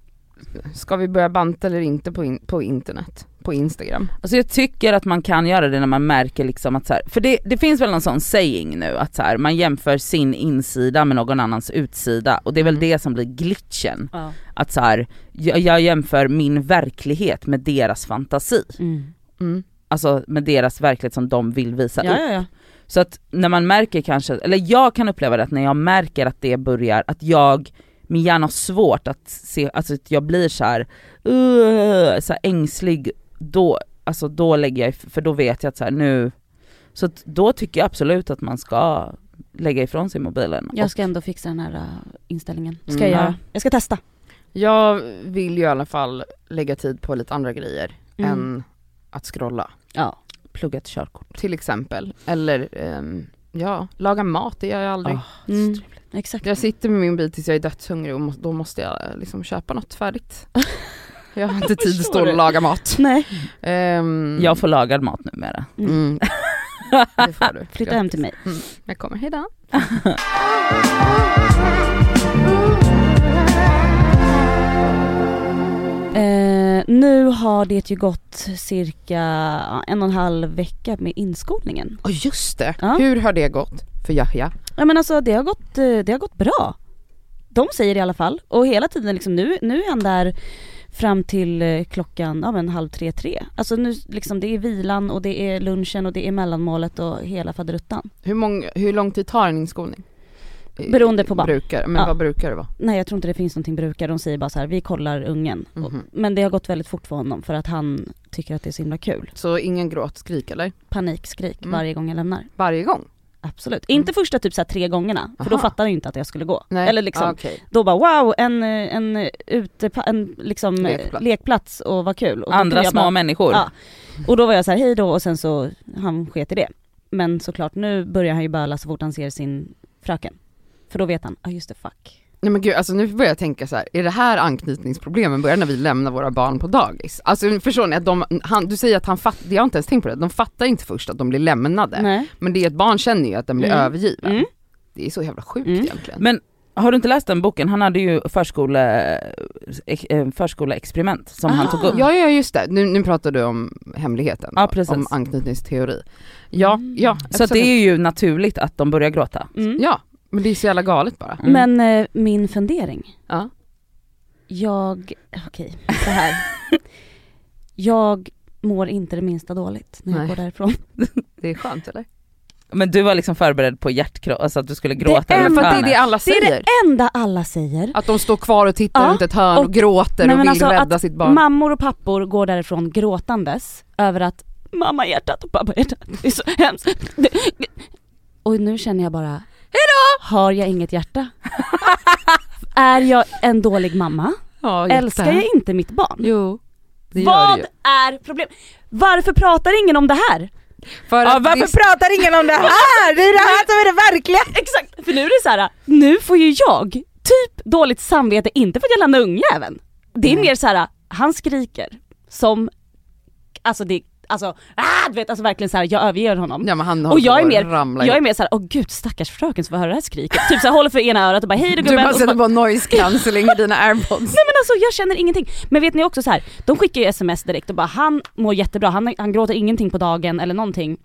Speaker 2: Ska vi börja banta eller inte på, in, på internet? På Instagram?
Speaker 3: Alltså jag tycker att man kan göra det när man märker liksom att så här, för det, det finns väl någon sån saying nu att så här, man jämför sin insida med någon annans utsida och det är väl
Speaker 2: Mm.
Speaker 3: det som blir glitchen. Att så här, jag, jag jämför min verklighet med deras fantasi.
Speaker 4: Mm.
Speaker 2: Mm.
Speaker 3: Alltså med deras verklighet som de vill visa
Speaker 4: Ja,
Speaker 3: upp.
Speaker 4: ja, ja.
Speaker 3: Så att när man märker kanske, eller jag kan uppleva det att när jag märker att det börjar, att jag, min hjärna har svårt att se, alltså att jag blir så här, "Ugh", så här ängslig, då, alltså då lägger jag, if- för då vet jag att så här, nu, så att då tycker jag absolut att man ska lägga ifrån sig mobilen.
Speaker 4: Jag ska ändå fixa den här äh, inställningen. Ska
Speaker 2: Mm.
Speaker 4: jag
Speaker 3: Ja.
Speaker 4: göra. Jag ska testa.
Speaker 2: Jag vill ju i alla fall lägga tid på lite andra grejer
Speaker 4: Mm.
Speaker 2: än att scrolla.
Speaker 4: Ja.
Speaker 3: och plugga ett körkort.
Speaker 2: Till exempel. Eller ehm, ja, laga mat, det gör jag aldrig.
Speaker 3: Ah.
Speaker 4: Mm. Exakt.
Speaker 2: Jag sitter med min bil tills jag är dödshungrig och må, då måste jag eh, liksom köpa något
Speaker 4: <laughs>
Speaker 2: färdigt. jag har inte tid att stå
Speaker 4: förstår
Speaker 2: och laga mat.
Speaker 4: Nej, Mm.
Speaker 2: Ehm,
Speaker 3: Jag får lagad mat numera.
Speaker 4: <laughs>
Speaker 2: mm. Det får du.
Speaker 4: flytta hem till mig.
Speaker 2: Jag kommer, hejdå.
Speaker 4: Eh, nu har det ju gått cirka en och en halv vecka med inskolningen.
Speaker 2: Ja just det,
Speaker 4: Ja.
Speaker 2: hur har det gått för Yahya?
Speaker 4: Ja men alltså det har gått, eh, det har gått bra. De säger det i alla fall. Och hela tiden liksom nu, nu är han där fram till eh, klockan, ja men halv tre, tre. Alltså nu liksom det är vilan och det är lunchen och det är mellanmålet och hela faderuttan.
Speaker 2: Hur, mång, hur lång tid tar en inskolning?
Speaker 4: Beroende på vad.
Speaker 2: Brukar, men
Speaker 4: Ja.
Speaker 2: vad brukar det vara?
Speaker 4: Nej jag tror inte det finns någonting brukar, de säger bara så här vi kollar ungen.
Speaker 2: Mhm.
Speaker 4: Och, men det har gått väldigt fort för honom för att han tycker att det är så himla kul.
Speaker 2: Så ingen gråt, skrik eller?
Speaker 4: Panikskrik
Speaker 2: Mm.
Speaker 4: varje gång jag lämnar.
Speaker 2: Varje gång?
Speaker 4: Absolut. Inte första typ så här tre gångerna, för då
Speaker 2: Aha.
Speaker 4: fattar han ju inte att jag skulle gå. Eller liksom,
Speaker 2: Ah, okej.
Speaker 4: då bara wow, en, en, ute, en liksom,
Speaker 2: Lekplats.
Speaker 4: lekplats. lekplats och vad kul. Och då
Speaker 3: Andra
Speaker 4: kunde jag
Speaker 3: små
Speaker 4: bara,
Speaker 3: människor.
Speaker 4: Ja. Och då var jag så här hej då och sen så, han sket i det. Men såklart nu börjar han ju böla så fort han ser sin fröken. För då vet han, ja ah, just det fuck.
Speaker 2: Nej men gud, alltså nu börjar jag tänka så här. är det här anknytningsproblemen börjar när vi lämnar våra barn på dagis? Alltså förstår ni att de, han, du säger att han fattar, jag har inte ens tänkt på det, de fattar inte först att de blir lämnade.
Speaker 4: Nej.
Speaker 2: Men det är ett barn känner ju att den blir
Speaker 4: Mm.
Speaker 2: övergiven.
Speaker 4: Mm.
Speaker 2: Det är så jävla sjukt
Speaker 4: Mm.
Speaker 2: egentligen.
Speaker 3: Men har du inte läst den boken? Han hade ju förskole, eh, förskoleexperiment som han
Speaker 4: Ah.
Speaker 3: tog upp.
Speaker 2: Ja, ja just det. Nu, nu pratar du om hemligheten,
Speaker 3: Ja, precis.
Speaker 2: om anknytningsteori. Ja,
Speaker 4: Mm.
Speaker 2: ja.
Speaker 3: Så att det är ju naturligt att de börjar gråta.
Speaker 4: Mm.
Speaker 2: Ja, men det är så jävla galet bara.
Speaker 3: Mm.
Speaker 4: Men eh, min fundering,
Speaker 2: Ja.
Speaker 4: jag, okej, så här. jag mår inte det minsta dåligt när jag
Speaker 2: Nej.
Speaker 4: går därifrån.
Speaker 2: Det är skönt eller?
Speaker 3: Men du var liksom förberedd på hjärtkropp, alltså att du skulle gråta
Speaker 4: Det
Speaker 3: eller
Speaker 4: enda-
Speaker 2: Men för att det är
Speaker 3: sköna.
Speaker 2: det alla
Speaker 4: Det
Speaker 2: säger.
Speaker 4: är det enda alla säger.
Speaker 2: Att de står kvar och tittar
Speaker 4: Ja,
Speaker 2: runt ett hörn och,
Speaker 4: och-
Speaker 2: gråter
Speaker 4: Nej,
Speaker 2: och
Speaker 4: men
Speaker 2: vill
Speaker 4: alltså
Speaker 2: rädda
Speaker 4: att
Speaker 2: sitt barn.
Speaker 4: Mammor och pappor går därifrån gråtandes över att mamma hjärtat och pappa hjärtat, det är så hemskt. <laughs> Det- det- Och nu känner jag bara, hejdå! Har jag inget hjärta? <laughs> är jag en dålig mamma?
Speaker 2: ja,
Speaker 4: Älskar jag inte mitt barn?
Speaker 2: Jo, Mm. det gör
Speaker 4: Vad
Speaker 2: du ju.
Speaker 4: är problemet? Varför pratar ingen om det här?
Speaker 2: För
Speaker 3: Ja,
Speaker 2: att
Speaker 3: varför
Speaker 2: visst-
Speaker 3: pratar ingen om det
Speaker 2: Ah,
Speaker 3: här? Det är det här som är det verkliga!
Speaker 4: Exakt, för nu är det så här. nu får ju jag typ dåligt samvete, inte för att jag lämnar ungjäveln. Det är
Speaker 2: Nej.
Speaker 4: mer så här. han skriker som, alltså det, alltså, ah, du vet, alltså verkligen så här. jag överger honom.
Speaker 2: Ja, men han
Speaker 4: Och jag är mer,
Speaker 2: ramla
Speaker 4: jag är
Speaker 2: ihop.
Speaker 4: mer såhär, åh gud stackars fröken som får höra det här skriket. Typ såhär håller för ena örat och bara hej då
Speaker 2: Du
Speaker 4: gubben.
Speaker 2: bara
Speaker 4: Och så
Speaker 2: sätter
Speaker 4: bara,
Speaker 2: på noise cancelling i dina airpods.
Speaker 4: Nej men alltså jag känner ingenting. Men vet ni också så här, de skickar ju sms direkt och bara han mår jättebra, han, han gråter ingenting på dagen eller någonting.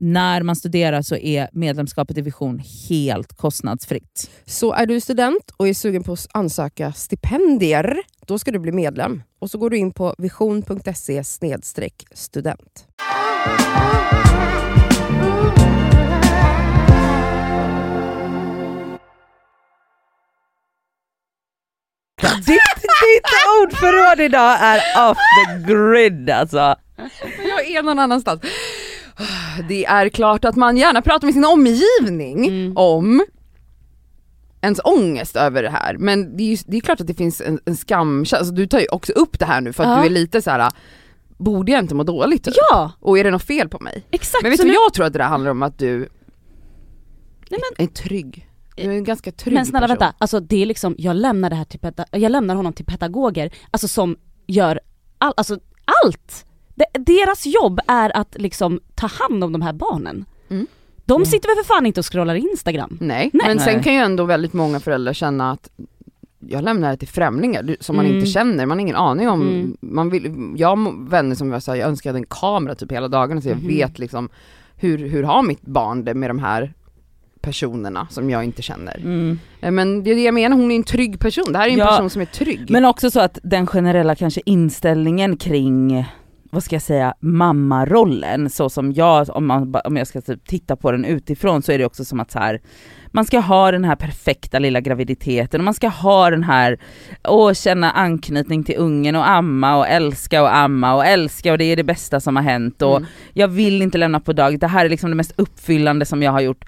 Speaker 3: när man studerar så är medlemskapet i Vision helt kostnadsfritt.
Speaker 1: Så är du student och är sugen på att ansöka stipendier, då ska du bli medlem. Och så går du in på vision.se snedstreck student.
Speaker 3: Ditt, ditt ordförråd idag är off the grid alltså.
Speaker 2: Jag är någon annanstans. Det är klart att man gärna pratar med sin omgivning om ens ångest över det här. Men det är, ju, det är klart att det finns en, en skamkänsla, alltså, du tar ju också upp det här nu för att
Speaker 4: Ja.
Speaker 2: du är lite så här. borde jag inte må dåligt? typ?
Speaker 4: Ja,
Speaker 2: Och är det något fel på mig?
Speaker 4: exakt.
Speaker 2: Men vet
Speaker 4: Så
Speaker 2: du
Speaker 4: nu-
Speaker 2: vad jag tror att det där handlar om? Att du
Speaker 4: Nej,
Speaker 2: är trygg. Du är en ganska trygg
Speaker 4: Men snälla
Speaker 2: person.
Speaker 4: vänta, alltså det är liksom, jag lämnar det här till peda- jag lämnar honom till pedagoger, alltså som gör all, alltså allt! De, deras jobb är att liksom ta hand om de här barnen.
Speaker 2: Mm.
Speaker 4: De sitter väl för fan inte och scrollar Instagram?
Speaker 2: Nej.
Speaker 4: Nej.
Speaker 2: men sen
Speaker 3: Nej.
Speaker 2: kan ju ändå väldigt många föräldrar känna att jag lämnar det till främlingar du- som man
Speaker 4: Mm.
Speaker 2: inte känner, man har ingen aning om,
Speaker 4: Mm.
Speaker 2: man vill, jag har vänner som jag, så här, jag önskar jag hade en kamera typ hela dagen så jag
Speaker 4: Mhm.
Speaker 2: vet liksom hur, hur har mitt barn det med de här personerna som jag inte känner.
Speaker 3: Mm.
Speaker 2: Eh, Men det är det jag menar, hon är en trygg person, det här är ju en
Speaker 3: Ja.
Speaker 2: person som är trygg.
Speaker 3: Men också så att den generella kanske inställningen kring vad ska jag säga, mammarollen, så som jag, om, man, ba- om jag ska typ titta på den utifrån så är det också som att så här, man ska ha den här perfekta lilla graviditeten och man ska ha den här, åh känna anknytning till ungen och amma och älska och amma och älska och det är det bästa som har hänt och
Speaker 2: Mm.
Speaker 3: jag vill inte lämna på dag, det här är liksom det mest uppfyllande som jag har gjort.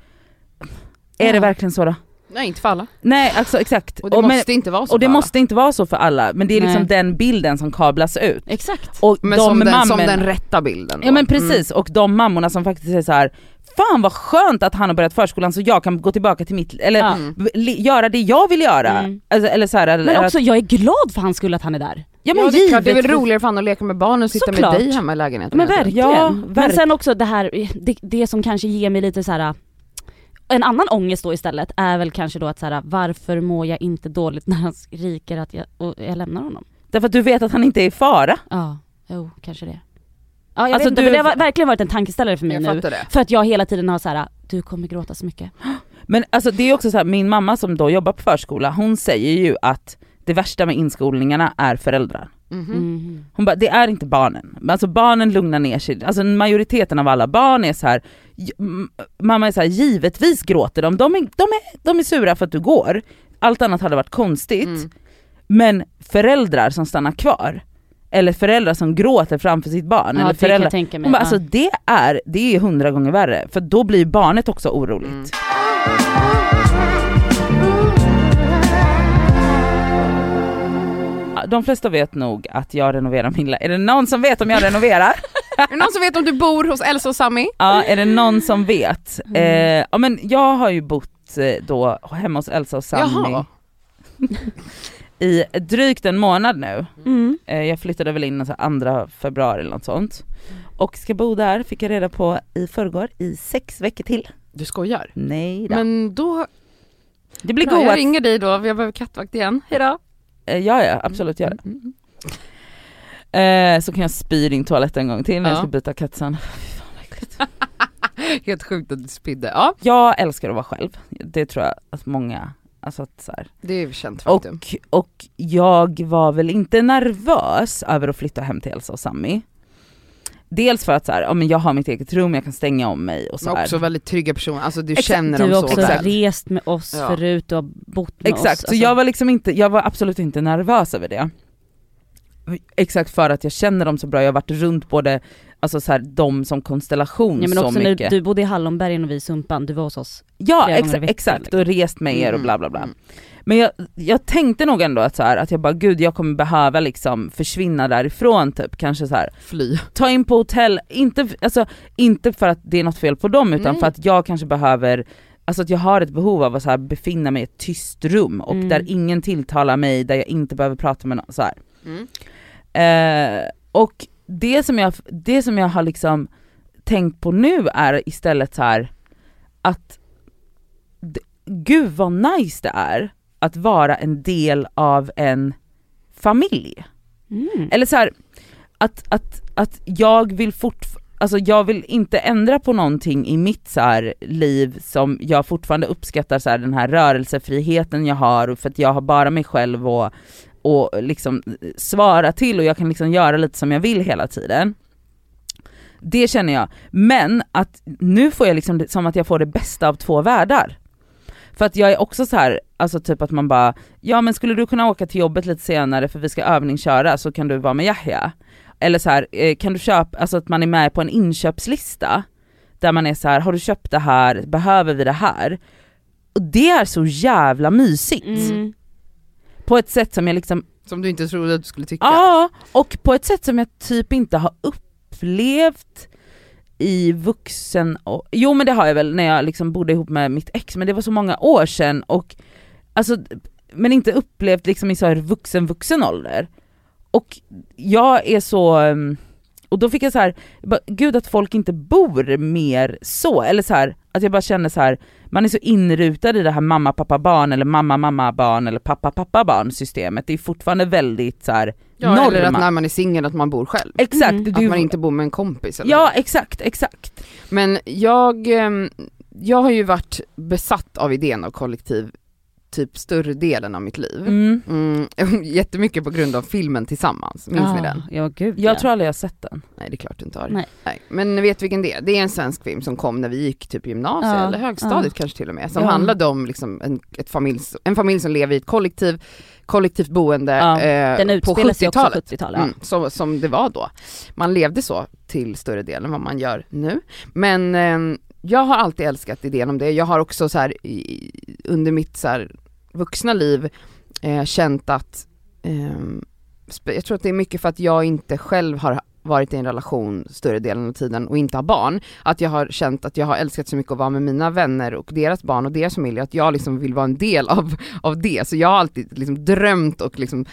Speaker 3: Är det
Speaker 4: Ja.
Speaker 3: verkligen så då?
Speaker 2: Nej inte för alla,
Speaker 3: Nej alltså exakt.
Speaker 2: och det
Speaker 3: Och men-
Speaker 2: måste inte vara så
Speaker 3: och det
Speaker 2: för alla.
Speaker 3: måste inte vara så för alla, men det är liksom
Speaker 4: Nej.
Speaker 3: den bilden som kablas ut.
Speaker 4: Exakt.
Speaker 3: Och
Speaker 2: men
Speaker 3: de
Speaker 2: som, den, som
Speaker 3: mammorna-
Speaker 2: den rätta bilden.
Speaker 3: Ja
Speaker 2: då. Mm.
Speaker 3: men precis, och de mammorna som faktiskt är så här. Fan vad skönt att han har börjat förskolan så jag kan gå tillbaka till mitt, eller
Speaker 4: Ja.
Speaker 3: li, göra det jag vill göra.
Speaker 4: Mm.
Speaker 3: Alltså, eller så här, eller,
Speaker 4: Men också jag är glad för hans skull att han är där.
Speaker 3: ja, men
Speaker 2: Ja, det, är klart, det är väl
Speaker 3: givetvis.
Speaker 2: roligare för han att leka med barn än att sitta
Speaker 4: Såklart.
Speaker 2: med dig hemma i lägenheten.
Speaker 4: Men
Speaker 2: hela tiden.
Speaker 4: verkligen.
Speaker 3: Ja,
Speaker 4: Men
Speaker 3: verk-
Speaker 4: sen också det här, det, det som kanske ger mig lite så här. En annan ångest då istället är väl kanske då att så här, varför mår jag inte dåligt när han skriker att jag, och jag lämnar honom?
Speaker 3: Därför att du vet att han inte är i fara.
Speaker 4: Ja, jo kanske det. Ja jag
Speaker 3: Alltså,
Speaker 4: vet inte,
Speaker 3: du-
Speaker 4: men det har verkligen varit en tankeställare för mig
Speaker 2: Jag
Speaker 4: nu.
Speaker 2: fattar det.
Speaker 4: För att jag hela tiden har så här: du kommer gråta så mycket.
Speaker 3: Men alltså det är också så här, min mamma som då jobbar på förskola, hon säger ju att det värsta med inskolningarna är föräldrar.
Speaker 2: Mhm.
Speaker 4: Mm.
Speaker 3: Hon bara, det är inte barnen. Men Alltså barnen lugnar ner sig. Alltså majoriteten av alla barn är så här. j- m- mamma är så här, givetvis gråter de. De är, de, är, de är sura för att du går. Allt annat hade varit konstigt.
Speaker 2: Mm.
Speaker 3: Men föräldrar som stannar kvar, eller föräldrar som gråter framför sitt barn, eller
Speaker 4: Ja det kan jag
Speaker 3: föräldrar.
Speaker 4: tänka mig.
Speaker 3: Hon bara,
Speaker 4: Ja.
Speaker 3: alltså det är, det är hundra gånger värre. För då blir ju barnet också oroligt.
Speaker 2: Mm.
Speaker 3: De flesta vet nog att jag renoverar min lägenhet. Är det någon som vet om jag
Speaker 4: <laughs>
Speaker 3: renoverar?
Speaker 2: Är det någon som vet om du bor hos Elsa och Sami?
Speaker 3: Ja, är det någon som vet?
Speaker 2: Mm.
Speaker 3: Eh, ja, men jag har ju bott eh, då hemma hos Elsa och Sanni
Speaker 2: Jaha.
Speaker 3: i drygt en månad nu.
Speaker 4: Mm.
Speaker 3: Eh, jag flyttade väl in den så här andra februari eller något sånt. och ska bo där, fick jag reda på i förrgår, i sex veckor till.
Speaker 2: Du skojar?
Speaker 3: Nej då.
Speaker 2: Men då,
Speaker 3: det blir
Speaker 2: bra,
Speaker 3: goa...
Speaker 2: jag ringer dig då, för jag behöver kattvakt igen. Hejdå!
Speaker 3: Eh, Ja, ja, absolut gör det.
Speaker 2: Mm.
Speaker 3: Eh, så kan jag spy i din toalett en gång till när jag
Speaker 2: Ja.
Speaker 3: ska byta kattsan. Fy fan, vad äckligt.
Speaker 2: Helt sjukt att du spydde. Ja,
Speaker 3: Jag älskar att vara själv, det tror jag att många, alltså att så här.
Speaker 2: det är ju känt faktum.
Speaker 3: Och, och jag var väl inte nervös över att flytta hem till Elsa och Sammy. Dels för att så här, ja, men jag har mitt eget rum, jag kan stänga om mig och så
Speaker 2: Men
Speaker 3: här.
Speaker 2: också väldigt trygga personer, alltså du
Speaker 4: Exakt,
Speaker 2: känner
Speaker 4: du
Speaker 2: dem
Speaker 4: har
Speaker 2: så
Speaker 4: också
Speaker 2: väl.
Speaker 4: rest med oss
Speaker 2: Ja.
Speaker 4: förut, du har bott med oss. alltså.
Speaker 3: Exakt, så jag var liksom inte, jag var absolut inte nervös över det. Exakt för att jag känner dem så bra, jag har varit runt både, alltså så här, dem som konstellation
Speaker 4: ja, men
Speaker 3: så
Speaker 4: också när
Speaker 3: mycket.
Speaker 4: du bodde i Hallonbergen och vi i Sumpan, du var hos oss.
Speaker 3: Ja
Speaker 4: flera gånger i
Speaker 3: exa-
Speaker 4: veckan,
Speaker 3: exakt,
Speaker 4: liksom.
Speaker 3: och rest med er och
Speaker 2: Mm,
Speaker 3: bla bla bla.
Speaker 2: mm.
Speaker 3: Men jag, jag tänkte nog ändå att så här, att jag bara gud jag kommer behöva liksom försvinna därifrån typ, kanske så här
Speaker 2: Fly.
Speaker 3: ta in på hotell, inte, f- alltså, inte för att det är något fel på dem utan
Speaker 2: Nej.
Speaker 3: för att jag kanske behöver Alltså att jag har ett behov av att så här befinna mig i ett tyst rum och
Speaker 4: Mm.
Speaker 3: där ingen tilltalar mig, där jag inte behöver prata med någon. Så här.
Speaker 2: Mm.
Speaker 3: Eh, och det som, jag, det som jag har liksom tänkt på nu är istället så här att d- gud vad nice det är att vara en del av en familj.
Speaker 4: Mm.
Speaker 3: Eller så här, att, att, att jag vill fortfarande Alltså jag vill inte ändra på någonting i mitt så här liv som jag fortfarande uppskattar så här den här rörelsefriheten jag har och för att jag har bara mig själv och, och liksom svara till och jag kan liksom göra lite som jag vill hela tiden. Det känner jag. Men att nu får jag liksom det- som att jag får det bästa av två världar. För att jag är också så här, alltså typ att man bara, ja men skulle du kunna åka till jobbet lite senare för vi ska övningsköra så kan du vara med Yahya. Eller så här, eh, kan du köpa, alltså att man är med på en inköpslista där man är så här, har du köpt det här, behöver vi det här? Och det är så jävla mysigt.
Speaker 4: Mm.
Speaker 3: På ett sätt som jag liksom
Speaker 2: Som du inte trodde att du skulle tycka.
Speaker 3: Ja, och på ett sätt som jag typ inte har upplevt i vuxen... Och, jo men det har jag väl när jag liksom bodde ihop med mitt ex men det var så många år sedan och alltså, men inte upplevt liksom i så här vuxen vuxen ålder. Och jag är så... ehm, Och då fick jag så här, jag bara, gud att folk inte bor mer så, eller så här, att jag bara känner så här, man är så inrutad i det här mamma, pappa, barn eller mamma, mamma, barn eller pappa, pappa, barn systemet. Det är fortfarande väldigt så här
Speaker 2: Ja, eller att
Speaker 3: norma.
Speaker 2: när man är singel att man bor själv.
Speaker 3: Exakt.
Speaker 4: Mm.
Speaker 3: Du,
Speaker 2: Att man inte bor med en kompis eller
Speaker 3: ja exakt, exakt.
Speaker 2: Men jag, ehm, jag har ju varit besatt av idén av kollektiv typ större delen av mitt liv.
Speaker 3: Mm.
Speaker 2: Mm, <laughs> jättemycket på grund av filmen Tillsammans, minns ni
Speaker 4: Ah,
Speaker 2: den?
Speaker 4: Ja gud
Speaker 3: Jag
Speaker 4: ja.
Speaker 3: tror aldrig jag har sett den.
Speaker 2: Nej det är klart du inte har.
Speaker 4: Nej.
Speaker 2: Men ni vet vilken det är? Det är en svensk film som kom när vi gick typ gymnasiet
Speaker 4: Ja,
Speaker 2: eller högstadiet kanske till och med. Som
Speaker 4: Ja.
Speaker 2: handlade om liksom en, ett familj, en familj som lever i ett kollektiv, kollektivt boende
Speaker 3: Ja,
Speaker 2: eh,
Speaker 4: Den
Speaker 2: på
Speaker 4: utspelar sig också
Speaker 2: 70-talet.
Speaker 4: 70-talet. ja.
Speaker 2: Mm, som, som det var då. Man levde så till större delen än vad man gör nu. Men eh, jag har alltid älskat idén om det. Jag har också så här, i, under mitt så här, vuxna liv eh, känt att, ehm, spe- jag tror att det är mycket för att jag inte själv har varit i en relation större delen av tiden och inte har barn. Att jag har känt att jag har älskat så mycket att vara med mina vänner och deras barn och deras familj, att jag liksom vill vara en del av, av det. Så jag har alltid liksom drömt och liksom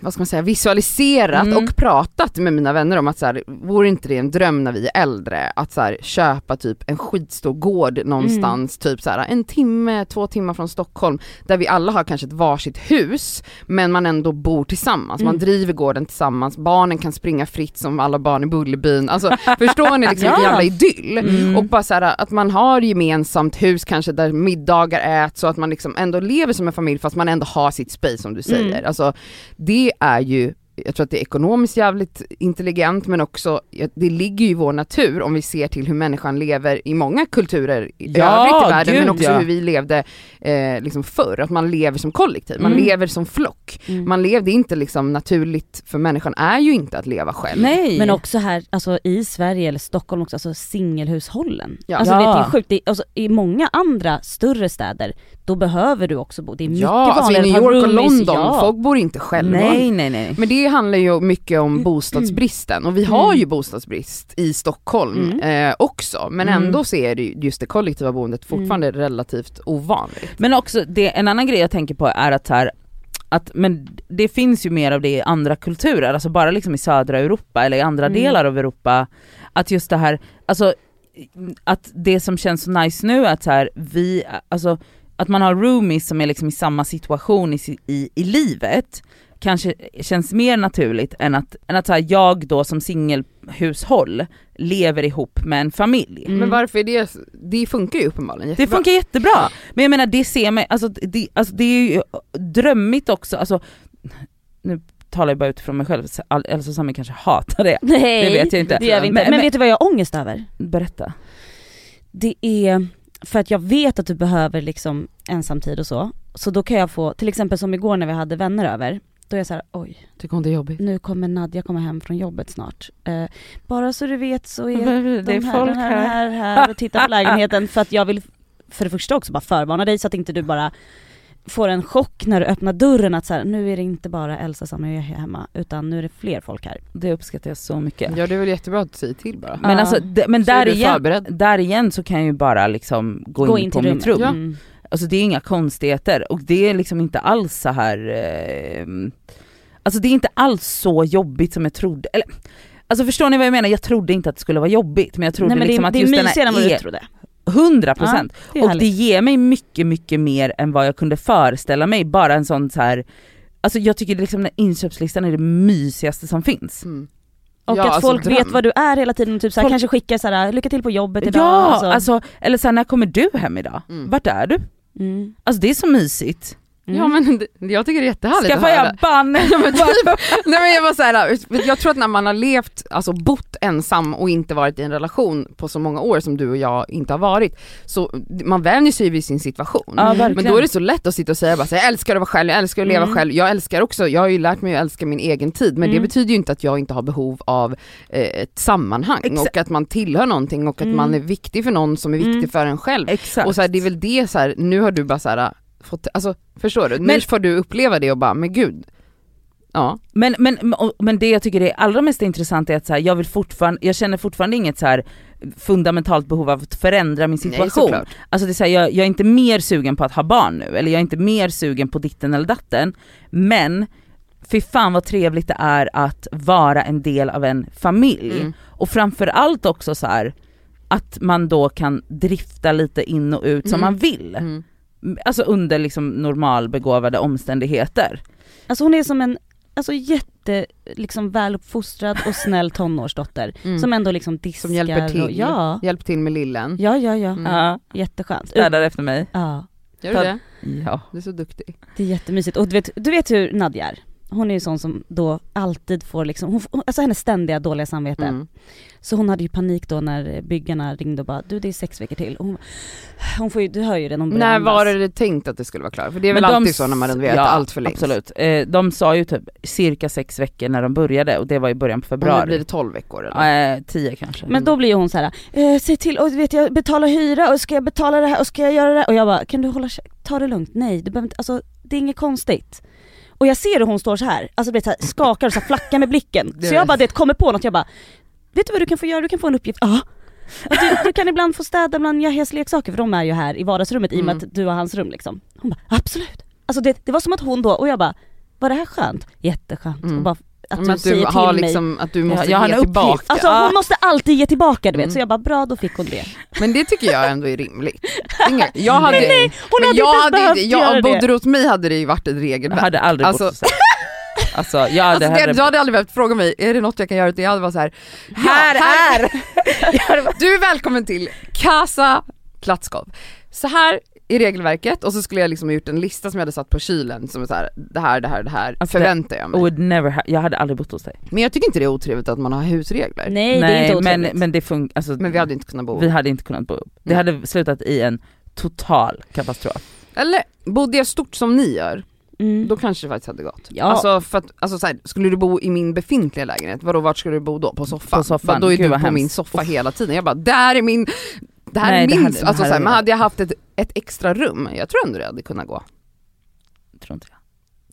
Speaker 2: vad ska man säga, visualiserat
Speaker 3: Mm.
Speaker 2: och pratat med mina vänner om att så här, vore inte det en dröm när vi är äldre att så här, köpa typ en skitstor gård någonstans, typ så här, en timme, två timmar från Stockholm, där vi alla har kanske ett varsitt hus, men man ändå bor tillsammans, man
Speaker 4: Mm.
Speaker 2: driver gården tillsammans, barnen kan springa fritt som alla barn i Bullerbyn, alltså förstår
Speaker 3: <laughs>
Speaker 2: ni liksom vilken jävla
Speaker 3: Ja.
Speaker 2: idyll?
Speaker 3: Mm.
Speaker 2: Och bara så här, att man har gemensamt hus kanske där middagar äts och att man liksom ändå lever som en familj fast man ändå har sitt space som du säger.
Speaker 4: Mm.
Speaker 2: Alltså, det är ju, jag tror att det är ekonomiskt jävligt intelligent men också, ja, det ligger ju i vår natur om vi ser till hur människan lever i många kulturer i
Speaker 3: Ja,
Speaker 2: övrigt i världen men
Speaker 3: gud,
Speaker 2: också
Speaker 3: ja.
Speaker 2: hur vi levde eh, liksom förr, att man lever som kollektiv, man
Speaker 3: Mm.
Speaker 2: lever som flock.
Speaker 4: Mm.
Speaker 2: Man lever, det är inte liksom naturligt för människan är ju inte att leva själv.
Speaker 3: Nej.
Speaker 4: Men också här, alltså i Sverige eller Stockholm också, alltså singelhushållen.
Speaker 2: Ja.
Speaker 4: Alltså
Speaker 3: Ja.
Speaker 4: vet du, det är sjukt, det är, alltså, i många andra större städer, då behöver du också bo. Det är mycket
Speaker 2: Ja, alltså i
Speaker 4: vanligare
Speaker 2: New
Speaker 4: att ha
Speaker 2: York och
Speaker 4: roomies.
Speaker 2: London,
Speaker 4: ja.
Speaker 2: folk bor inte själva.
Speaker 3: nej nej nej.
Speaker 2: Men det handlar ju mycket om bostadsbristen och vi har ju bostadsbrist i Stockholm eh, också men
Speaker 3: Mm.
Speaker 2: ändå så är det ju- just det kollektiva boendet fortfarande relativt ovanligt.
Speaker 3: Men också det, en annan grej jag tänker på är att så här, att, men det finns ju mer av det i andra kulturer, alltså bara liksom i södra Europa eller i andra
Speaker 4: Mm.
Speaker 3: delar av Europa. Att just det här, alltså att det som känns så nice nu är att så här, vi, alltså att man har roomies som är liksom i samma situation i, si- i, i livet kanske känns mer naturligt än att, än att så här, jag då som singelhushåll lever ihop med en familj.
Speaker 2: Men varför är det, det funkar ju uppenbarligen
Speaker 3: Det
Speaker 2: jättebra.
Speaker 3: funkar jättebra, men jag menar det ser mig, alltså det, alltså, det är ju drömmigt också, alltså nu talar jag bara utifrån mig själv, så Al- Elsa och Sami kanske hatar det,
Speaker 4: Nej,
Speaker 3: det vet jag inte.
Speaker 4: det gör vi inte. Men,
Speaker 3: Men,
Speaker 4: vet du vad jag har ångest över?
Speaker 3: men berätta.
Speaker 4: Det är för att jag vet att du behöver liksom ensamtid och så. Så då kan jag få, till exempel som igår när vi hade vänner över, då är jag så här, oj,
Speaker 2: Tycker hon det är jobbigt?
Speaker 4: nu kommer Nadja komma hem från jobbet snart. Eh, bara så du vet så är
Speaker 3: Det är
Speaker 4: de här,
Speaker 3: folk
Speaker 4: de här,
Speaker 3: här.
Speaker 4: här, här
Speaker 3: <laughs>
Speaker 4: och tittar på lägenheten för att jag vill för det första också bara förvarna dig så att inte du bara får en chock när du öppnar dörren att så här, nu är det inte bara Elsa som är hemma utan nu är det fler folk här.
Speaker 3: Det uppskattar jag så mycket.
Speaker 2: Ja det är väl jättebra att säga till bara.
Speaker 3: Men
Speaker 4: Ja.
Speaker 3: alltså, det, men
Speaker 2: Så är
Speaker 3: där
Speaker 2: du
Speaker 3: igen,
Speaker 2: förberedd.
Speaker 3: där igen så kan jag ju bara liksom gå, in, på
Speaker 4: till
Speaker 3: mitt rum.
Speaker 2: Ja.
Speaker 4: Mm.
Speaker 3: Alltså det är inga konstigheter och det är liksom inte alls så här eh, Alltså det är inte alls så jobbigt som jag trodde, eller Alltså förstår ni vad jag menar? Jag trodde inte att det skulle vara jobbigt men jag trodde
Speaker 4: Nej, men
Speaker 3: liksom
Speaker 4: det,
Speaker 3: att
Speaker 4: det är
Speaker 3: just
Speaker 4: mysigare än
Speaker 3: den
Speaker 4: vad
Speaker 3: här
Speaker 4: du
Speaker 3: är
Speaker 4: trodde.
Speaker 3: 100% procent.
Speaker 4: Det är
Speaker 3: och
Speaker 4: härligt.
Speaker 3: det ger mig mycket mycket mer än vad jag kunde föreställa mig, bara en sån så här Alltså jag tycker liksom den här inköpslistan är det mysigaste som finns.
Speaker 2: Mm.
Speaker 4: Och
Speaker 2: Ja,
Speaker 4: att
Speaker 2: alltså,
Speaker 4: folk
Speaker 2: dröm.
Speaker 4: vet vad du är hela tiden, typ så här,
Speaker 3: Folk-
Speaker 4: kanske skickar så här, lycka till på jobbet idag.
Speaker 3: ja!
Speaker 4: alltså.
Speaker 3: Alltså. eller såhär, när kommer du hem idag?
Speaker 2: Mm.
Speaker 3: Vart är du?
Speaker 4: Mm.
Speaker 3: Alltså det är så mysigt.
Speaker 4: Mm.
Speaker 2: Ja men det, jag tycker det är jättehärligt
Speaker 3: Skaffar
Speaker 2: att höra.
Speaker 3: jag
Speaker 4: <laughs>
Speaker 3: banne?
Speaker 2: Ja, men typ. Nej men jag var så här, för jag tror att när man har levt, alltså bott ensam och inte varit i en relation på så många år som du och jag inte har varit, så man vänjer sig vid sin situation.
Speaker 3: Ja, verkligen.
Speaker 2: Men då är det så lätt att sitta och säga bara så här, jag älskar att vara själv, jag älskar att leva
Speaker 4: Mm.
Speaker 2: själv, jag älskar också, jag har ju lärt mig att älska min egen tid men
Speaker 4: Mm.
Speaker 2: det betyder ju inte att jag inte har behov av eh, ett sammanhang
Speaker 3: Exakt.
Speaker 2: och att man tillhör någonting och att
Speaker 4: Mm.
Speaker 2: man är viktig för någon som är viktig
Speaker 4: Mm.
Speaker 2: för en själv.
Speaker 3: Exakt.
Speaker 2: Och så här, det är väl det så här, nu har du bara så här, fått, alltså förstår du? nu
Speaker 3: Men-
Speaker 2: får du uppleva det och bara, men gud. Ja.
Speaker 3: Men, men, och- men det jag tycker är allra mest intressant är att så här, jag, vill fortfarande, jag känner fortfarande inget så här fundamentalt behov av att förändra min situation.
Speaker 2: Nej, såklart.
Speaker 3: alltså det är så här, jag, jag är inte mer sugen på att ha barn nu, eller jag är inte mer sugen på ditten eller datten. Men fy fan vad trevligt det är att vara en del av en familj.
Speaker 2: Mm.
Speaker 3: Och framförallt också så här att man då kan drifta lite in och ut som
Speaker 2: Mm.
Speaker 3: man vill.
Speaker 2: Mm.
Speaker 3: Alltså under liksom normalbegåvade omständigheter.
Speaker 4: Alltså hon är som en alltså, jätte liksom, väluppfostrad och snäll tonårsdotter
Speaker 2: Mm.
Speaker 4: som ändå liksom diskar
Speaker 2: Som hjälper
Speaker 4: Och,
Speaker 2: till.
Speaker 3: Mm.
Speaker 4: ja.
Speaker 2: Hjälp till med lillen.
Speaker 4: ja, ja, ja.
Speaker 2: Mm.
Speaker 3: Ja.
Speaker 4: Jätteskönt.
Speaker 3: Städar efter mig.
Speaker 4: Ja,
Speaker 2: Gör du det?
Speaker 3: Ja.
Speaker 2: Du är så duktig.
Speaker 4: det är jättemysigt. Och du vet, du vet hur Nadja är? Hon är ju sån som då alltid får liksom, hon, får- alltså hennes ständiga dåliga samvete.
Speaker 2: Mm.
Speaker 4: Så hon hade ju panik då när byggarna ringde och bara du det är sex veckor till. Och hon, hon får ju, du hör ju det, hon börjar
Speaker 2: När
Speaker 4: andas.
Speaker 2: var det tänkt att det skulle vara klart? För det är väl
Speaker 3: Men de
Speaker 2: alltid så när man renoverar,
Speaker 3: Ja,
Speaker 2: att allt förlängs.
Speaker 3: Absolut. Eh, de sa ju typ cirka sex veckor när de började och det var i början
Speaker 2: Bra.
Speaker 3: på
Speaker 2: Blir
Speaker 3: februari.
Speaker 2: det 12 veckor eller?
Speaker 3: Eh, tio kanske.
Speaker 4: Men då blir ju hon så här, eh, säg till, och vet jag betala hyra och ska jag betala det här och ska jag göra det här? Och jag bara, kan du hålla kä- ta det lugnt, nej du behöver inte, alltså det är inget konstigt. Och jag ser hur hon står så här, alltså du vet, så här, skakar och så här, flackar med blicken.
Speaker 2: <laughs> Det
Speaker 4: Så
Speaker 2: är-
Speaker 4: jag bara du vet, kommer på något, jag bara, vet du vad du kan få göra? Du kan få en uppgift, ja. Och Du, du kan ibland få städa bland Yahyas leksaker för de är ju här i vardagsrummet i och med
Speaker 2: Mm.
Speaker 4: att du har hans rum liksom. Hon bara absolut. Alltså det, det var som att hon då, och jag bara, var det här skönt? Jätteskönt.
Speaker 2: Mm.
Speaker 4: Och bara, att
Speaker 2: Men
Speaker 4: du,
Speaker 2: att du
Speaker 4: säger
Speaker 2: har
Speaker 4: till mig.
Speaker 2: liksom, att du måste
Speaker 3: jag har en
Speaker 2: ge
Speaker 3: uppgift.
Speaker 2: tillbaka.
Speaker 4: Alltså
Speaker 3: Ja.
Speaker 4: hon måste alltid ge tillbaka du vet,
Speaker 2: Mm.
Speaker 4: så jag bara bra då fick hon det.
Speaker 2: Men det tycker jag ändå är rimligt. Det är inga- Jag hade,
Speaker 4: Nej, nej, hon
Speaker 2: men
Speaker 4: hade
Speaker 2: jag
Speaker 4: inte
Speaker 2: hade
Speaker 4: behövt
Speaker 2: inte, jag,
Speaker 4: göra
Speaker 2: om bodde
Speaker 4: det.
Speaker 2: du hos mig hade det ju varit ett
Speaker 3: jag
Speaker 2: regelverk.
Speaker 3: hade aldrig
Speaker 2: Alltså-
Speaker 3: bott så här. Alltså jag hade
Speaker 2: Alltså, det,
Speaker 3: hellre...
Speaker 2: du hade aldrig behövt fråga mig, är det något jag kan göra? Utan jag hade bara så här, här, här. Du är välkommen till Casa Platskov. Så här är regelverket och så skulle jag liksom ha gjort en lista som jag hade satt på kylen som är så här, det här, det här, det här
Speaker 3: Alltså,
Speaker 2: förväntar jag mig.
Speaker 3: Would never ha... Jag hade aldrig bott hos dig.
Speaker 2: Men jag tycker inte det är otrevligt att man har husregler.
Speaker 4: Nej, det är inte
Speaker 3: men,
Speaker 4: otroligt.
Speaker 3: men det funkar... Alltså,
Speaker 2: Men vi hade inte kunnat bo
Speaker 3: vi hade inte kunnat bo upp. Det
Speaker 2: Nej.
Speaker 3: hade slutat i en total katastrof.
Speaker 2: Eller bodde jag stort som ni gör,
Speaker 4: mm.
Speaker 2: då kanske det faktiskt hade gått.
Speaker 4: ja.
Speaker 2: Alltså, för att, alltså så här, skulle du bo i min befintliga lägenhet, vadå vart skulle du bo då? På soffan?
Speaker 3: På soffan.
Speaker 2: Bara, Då är
Speaker 3: Gud,
Speaker 2: du på
Speaker 3: vad hemskt.
Speaker 2: min soffa hela tiden. Jag bara, där är min, det här
Speaker 3: Nej,
Speaker 2: är
Speaker 3: det
Speaker 2: min,
Speaker 3: hade- det
Speaker 2: alltså så här,
Speaker 3: hade-
Speaker 2: men hade jag haft ett, ett extra rum, jag tror ändå det hade kunnat gå.
Speaker 3: Tror inte jag.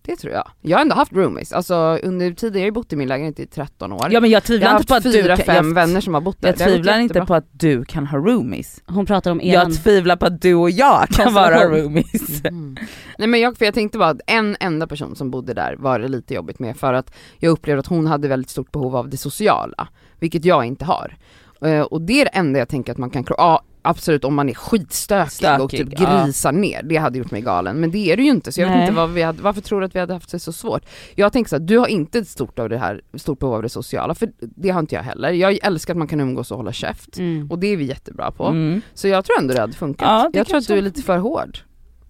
Speaker 2: Det tror jag. Jag har ändå haft roomies, alltså under tiden, jag har ju bott i min lägenhet i 13 år.
Speaker 3: Ja men jag
Speaker 2: jag
Speaker 3: tvivlar
Speaker 2: har
Speaker 3: inte på
Speaker 2: haft
Speaker 3: att du
Speaker 2: fyra,
Speaker 3: kan,
Speaker 2: fem
Speaker 3: jag,
Speaker 2: vänner som har bott där.
Speaker 3: jag
Speaker 2: Det har gått
Speaker 3: tvivlar inte
Speaker 2: jättebra.
Speaker 3: på att du kan ha roomies.
Speaker 4: Hon pratar om eran.
Speaker 3: Jag tvivlar på att du och jag
Speaker 2: Alltså,
Speaker 3: kan vara
Speaker 4: Konstellation.
Speaker 3: roomies.
Speaker 2: Mm. <laughs> Nej men jag, för jag tänkte bara att en enda person som bodde där var det lite jobbigt med för att jag upplevde att hon hade väldigt stort behov av det sociala, vilket jag inte har. Eh, och det är det enda jag tänker att man kan, kro- ja absolut om man är skitstökig och
Speaker 3: Stökig,
Speaker 2: typ
Speaker 3: ja.
Speaker 2: grisar ner, det hade gjort mig galen. Men det är det ju inte så jag
Speaker 3: Nej.
Speaker 2: vet inte vad vi hade, varför tror du att vi hade haft det så svårt? Jag tänker så här, du har inte ett stort, av det här, stort behov av det sociala, för det har inte jag heller. Jag älskar att man kan umgås och hålla käft.
Speaker 4: Mm.
Speaker 2: Och det är vi jättebra på.
Speaker 3: Mm.
Speaker 2: Så jag tror ändå det hade funkat.
Speaker 3: Ja, det
Speaker 2: jag tror att
Speaker 3: kanske-
Speaker 2: du är lite för hård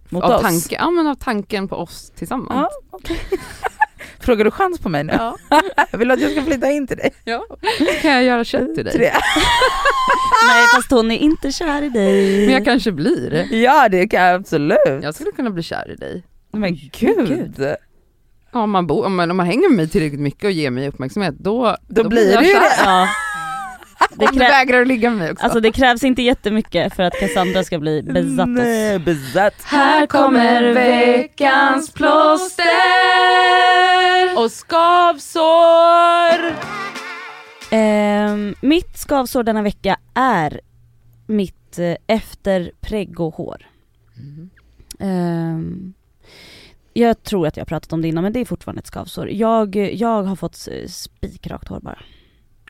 Speaker 3: Mot
Speaker 2: av,
Speaker 3: oss.
Speaker 2: tanke, ja, men av tanken på oss tillsammans.
Speaker 3: Ja, okej. <laughs> Frågar du chans på mig nu?
Speaker 2: Ja.
Speaker 3: <laughs> Vill du att jag ska flytta in till dig?
Speaker 2: Kan jag göra kött till dig?
Speaker 3: Till det.
Speaker 4: Nej fast hon är inte kär i dig.
Speaker 2: Men jag kanske blir.
Speaker 3: Ja det kan jag absolut.
Speaker 2: Jag skulle kunna bli kär i dig.
Speaker 3: Men gud.
Speaker 2: Ja, om, man bo, om, man, om man hänger med mig tillräckligt mycket och ger mig uppmärksamhet då,
Speaker 3: Då blir
Speaker 2: jag
Speaker 3: det ju
Speaker 2: kär.
Speaker 3: det.
Speaker 4: Ja. Det,
Speaker 2: Om du
Speaker 4: krä...
Speaker 2: vägrar att ligga med mig också.
Speaker 4: alltså, det krävs inte jättemycket för att Cassandra ska bli besatt.
Speaker 3: Nej, besatt.
Speaker 2: här kommer veckans plåster!
Speaker 3: Och skavsår!
Speaker 4: Ehm, mitt skavsår denna vecka är mitt eh, efter preggohår. Ehm, jag tror att jag har pratat om det innan men det är fortfarande ett skavsår. Jag, jag har fått eh, spikrakt hår bara,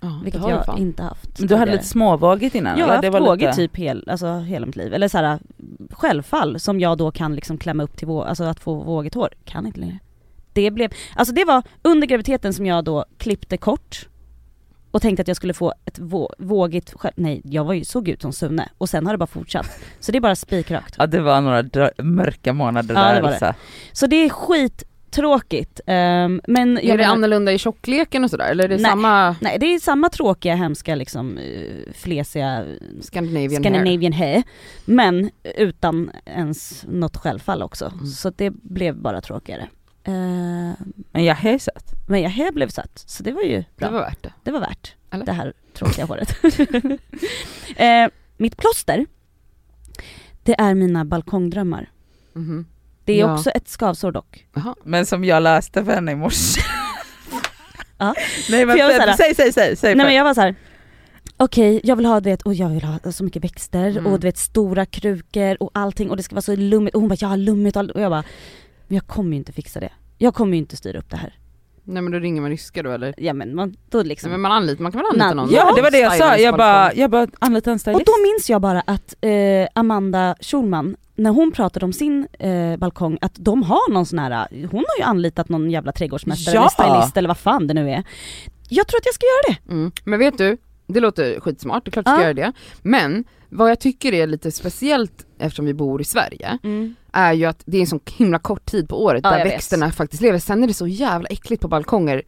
Speaker 2: Ja, det
Speaker 4: vilket
Speaker 2: har du
Speaker 4: jag
Speaker 2: fan.
Speaker 4: inte haft.
Speaker 3: Du hade
Speaker 4: tidigare.
Speaker 3: lite småvågigt innan?
Speaker 4: Jag har
Speaker 3: eller?
Speaker 4: haft
Speaker 3: Det var
Speaker 4: båge
Speaker 3: lite-
Speaker 4: typ hel, alltså, hela mitt liv. Eller så här, självfall som jag då kan liksom klämma upp till vå- alltså, att få vågigt hår. Kan inte längre. Det blev, alltså det var under graviditeten som jag då klippte kort och tänkte att jag skulle få ett vå- vågigt själv. Nej jag var ju, såg ut som Sune och sen har det bara fortsatt. Så det är bara spikrakt.
Speaker 3: Ja det var några dra- mörka månader
Speaker 4: Ja,
Speaker 3: där
Speaker 4: det var det.
Speaker 3: Elsa.
Speaker 4: Så det är skittråkigt. ehm, men
Speaker 2: Är
Speaker 4: jag
Speaker 2: det
Speaker 4: menar-
Speaker 2: annorlunda i tjockleken och sådär? Eller är det
Speaker 4: Nej.
Speaker 2: samma
Speaker 4: Nej det är samma tråkiga hemska liksom eh, flesiga
Speaker 2: Scandinavian, hair?
Speaker 4: Scandinavian hair. Men utan ens något självfall också. Så det blev bara tråkigare. Eh,
Speaker 3: Men jag är söt.
Speaker 4: men jag hair blev satt, så det var ju
Speaker 2: Det
Speaker 4: bra.
Speaker 2: var värt det.
Speaker 4: värt
Speaker 2: Eller?
Speaker 4: det här tråkiga håret. <laughs> eh, mitt plåster, det är mina balkongdrömmar.
Speaker 2: Mhm.
Speaker 4: Det är
Speaker 2: Ja.
Speaker 4: också ett skavsår dock.
Speaker 2: Jaha.
Speaker 3: Men som jag läste för henne i morse.
Speaker 4: Ja.
Speaker 3: Nej men
Speaker 4: För jag var
Speaker 3: för-
Speaker 4: så här-
Speaker 3: säg, säg, säg, säg.
Speaker 4: Nej men
Speaker 3: först.
Speaker 4: jag var så här. Okej, jag vill ha du vet, och jag vill ha så mycket växter
Speaker 2: Mm.
Speaker 4: och du vet stora krukor och allting och det ska vara så lummigt och hon bara jag har lummigt och allt." och jag bara men jag kommer ju inte fixa det. Jag kommer ju inte styra upp det här.
Speaker 2: Nej men då ringer man ryska då eller?
Speaker 4: Ja men man, då
Speaker 2: Nej,
Speaker 4: liksom.
Speaker 2: men man, anlitar, man kan väl anlita
Speaker 4: Nej.
Speaker 2: någon?
Speaker 3: Ja det var det jag sa,
Speaker 2: Stylist
Speaker 3: jag
Speaker 2: på
Speaker 3: bara,
Speaker 2: balkong.
Speaker 3: jag bara anlita en
Speaker 4: och
Speaker 3: stylist.
Speaker 4: då minns jag bara att eh, Amanda Schulman, när hon pratade om sin eh, balkong, att de har någon sån här, hon har ju anlitat någon jävla trädgårdsmästare
Speaker 3: Ja.
Speaker 4: eller stylist eller vad fan det nu är. Jag tror att jag ska göra det.
Speaker 2: Mm. Men vet du, det låter skitsmart, det är klart du ska
Speaker 4: Ja.
Speaker 2: göra det. Men vad jag tycker är lite speciellt eftersom vi bor i Sverige,
Speaker 3: Mm.
Speaker 2: är ju att det är en sån himla kort tid på året
Speaker 4: Ja,
Speaker 2: där
Speaker 4: jag vet.
Speaker 2: växterna faktiskt lever. Sen är det så jävla äckligt på balkonger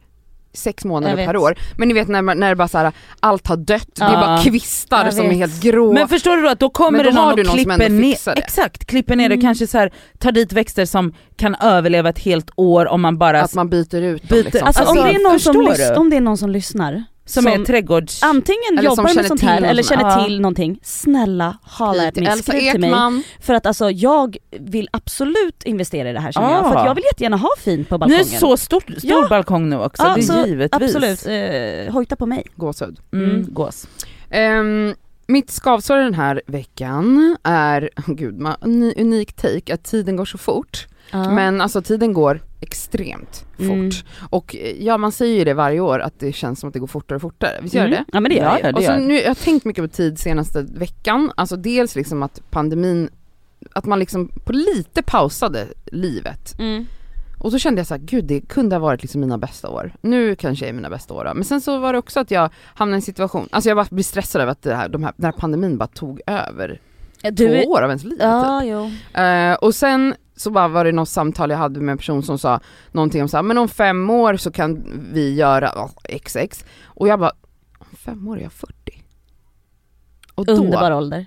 Speaker 2: sex månader
Speaker 4: Jag
Speaker 2: per
Speaker 4: vet.
Speaker 2: år. Men ni vet när, man, när det bara så här, allt har dött, det
Speaker 4: Ja.
Speaker 2: är bara kvistar
Speaker 4: Jag
Speaker 2: som är
Speaker 4: vet.
Speaker 2: helt grå.
Speaker 3: Men förstår du då att då kommer
Speaker 2: Men då
Speaker 3: det
Speaker 2: har
Speaker 3: någon
Speaker 2: du
Speaker 3: och
Speaker 2: någon som
Speaker 3: klipper
Speaker 2: ändå
Speaker 3: ner,
Speaker 2: fixar det.
Speaker 3: exakt, klipper ner det
Speaker 4: Mm.
Speaker 3: kanske så här, tar dit växter som kan överleva ett helt år om man bara,
Speaker 2: att man byter ut dem
Speaker 3: Byter-
Speaker 2: liksom.
Speaker 4: Alltså,
Speaker 3: Alltså,
Speaker 4: om, det är någon som
Speaker 3: förstår
Speaker 4: lys-
Speaker 3: du?
Speaker 4: om det är någon som lyssnar,
Speaker 3: som, är trädgårds...
Speaker 4: antingen
Speaker 2: Eller som
Speaker 4: jobbar med
Speaker 2: känner
Speaker 4: sånt
Speaker 2: till
Speaker 4: här
Speaker 2: någon
Speaker 4: eller
Speaker 2: som-
Speaker 4: känner
Speaker 3: Ja.
Speaker 4: till någonting, snälla holla at
Speaker 2: Till
Speaker 4: me,
Speaker 2: Elsa
Speaker 4: skriv till mig.
Speaker 2: Ekman,
Speaker 4: För att alltså jag vill absolut investera i det här känner jag,
Speaker 3: Ja.
Speaker 2: Ah.
Speaker 4: för att jag vill jättegärna ha fint på
Speaker 3: Nu är
Speaker 4: balkongen.
Speaker 3: det så stor, stor
Speaker 4: Ja.
Speaker 3: balkong nu också,
Speaker 4: Ja,
Speaker 3: det
Speaker 4: så
Speaker 3: är givetvis.
Speaker 4: Absolut, eh, hojta på mig.
Speaker 2: gåshud.
Speaker 3: Mm, gås.
Speaker 2: Ehm, mitt skavsår den här veckan är, <laughs> oh, gud, man, ny, unik take, att tiden går så fort. Men alltså tiden går extremt fort.
Speaker 4: Mm.
Speaker 2: Och eh, ja man säger ju det varje år att det känns som att det går fortare och fortare, visst gör det?
Speaker 4: Mm. Ja men det gör
Speaker 3: Ja,
Speaker 4: jag.
Speaker 3: ja, det
Speaker 2: och
Speaker 3: gör
Speaker 2: så
Speaker 3: det.
Speaker 2: nu, jag har tänkt mycket på tid senaste veckan, alltså dels liksom att pandemin, att man liksom på lite pausade livet. Och så kände jag så här, gud det kunde ha varit liksom mina bästa år. Nu kanske är mina bästa år då. Men sen så var det också att jag hamnade i en situation, alltså jag bara blev stressad över att det här, de här, den här pandemin bara tog över
Speaker 4: Du är...
Speaker 2: två år av ens liv. typ.
Speaker 4: Ja, jo.
Speaker 2: Eh, och sen så bara var det något samtal jag hade med en person som sa någonting om så här, men om fem år så kan vi göra oh, XX. Och jag bara, om fem år är jag 40. Och då,
Speaker 4: Underbar ålder.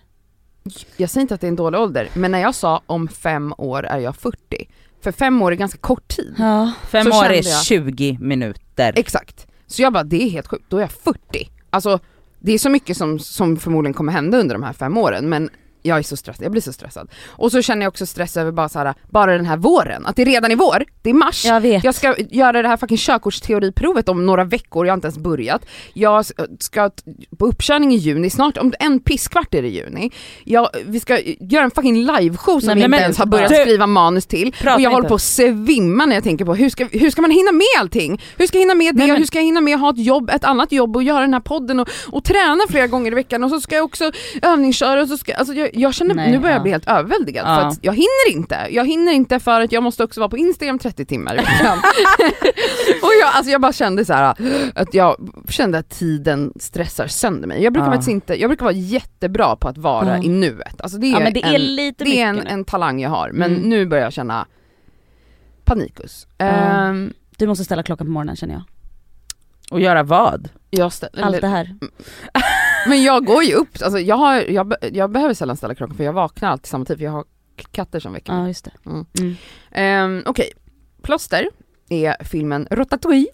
Speaker 2: jag säger inte att det är en dålig ålder, men när jag sa om fem år är jag 40, för fem år är ganska kort tid.
Speaker 4: Ja.
Speaker 3: Fem
Speaker 2: Så
Speaker 3: år
Speaker 2: kände
Speaker 3: är
Speaker 2: jag.
Speaker 3: 20 minuter.
Speaker 2: Exakt. Så jag bara, det är helt sjukt, då är jag 40. Alltså det är så mycket som, som förmodligen kommer hända under de här fem åren men jag är så stressad, jag blir så stressad. Och så känner jag också stress över bara, så här, bara den här våren, att det är redan i vår, det är mars.
Speaker 4: Jag vet.
Speaker 2: Jag ska göra det här fucking körkortsteoriprovet om några veckor, jag har inte ens börjat. Jag s- ska t- på uppkörning i juni, snart om en pisskvart är det juni. Jag, vi ska göra en fucking liveshow som
Speaker 3: Nej,
Speaker 2: vi
Speaker 3: men-
Speaker 2: inte ens har börjat
Speaker 3: Du-
Speaker 2: skriva manus till.
Speaker 3: Prata
Speaker 2: Och jag håller
Speaker 3: inte.
Speaker 2: på att svimma när jag tänker på hur ska, hur ska man hinna med allting? Hur ska jag hinna med det?
Speaker 3: men-
Speaker 2: Hur ska jag hinna med att ha ett jobb, ett annat jobb och göra den här podden och, och träna flera gånger i veckan och så ska jag också övningsköra och så ska alltså jag, jag känner,
Speaker 4: Nej,
Speaker 2: nu börjar jag
Speaker 4: ja.
Speaker 2: bli helt överväldigad för
Speaker 3: Ja.
Speaker 2: att jag hinner inte. Jag hinner inte för att jag måste också vara på Instagram 30 timmar i veckan.
Speaker 4: <laughs>
Speaker 2: och jag, alltså jag bara kände så här att jag kände att tiden stressar sönder mig. Jag brukar
Speaker 3: Ja.
Speaker 2: faktiskt inte, jag brukar vara jättebra på att vara
Speaker 4: Ja.
Speaker 2: i nuet. Alltså det är,
Speaker 4: Ja men det är
Speaker 2: en,
Speaker 4: lite
Speaker 2: det är en,
Speaker 4: mycket nu.
Speaker 2: en talang jag har men
Speaker 4: Mm.
Speaker 2: nu börjar jag känna panikus.
Speaker 4: Ja.
Speaker 2: Ehm,
Speaker 4: Du måste ställa klockan på morgonen känner jag.
Speaker 3: Och göra vad?
Speaker 2: jag ställer,
Speaker 4: Allt det här.
Speaker 2: Mm. Men jag går ju upp, alltså jag, har, jag, be- jag behöver sällan ställa klockan för jag vaknar alltid samma tid för jag har k- katter som väcker mig.
Speaker 4: Ja just det.
Speaker 2: Mm.
Speaker 4: Mm.
Speaker 2: Ehm, Okej, Plåster är filmen Ratatouille.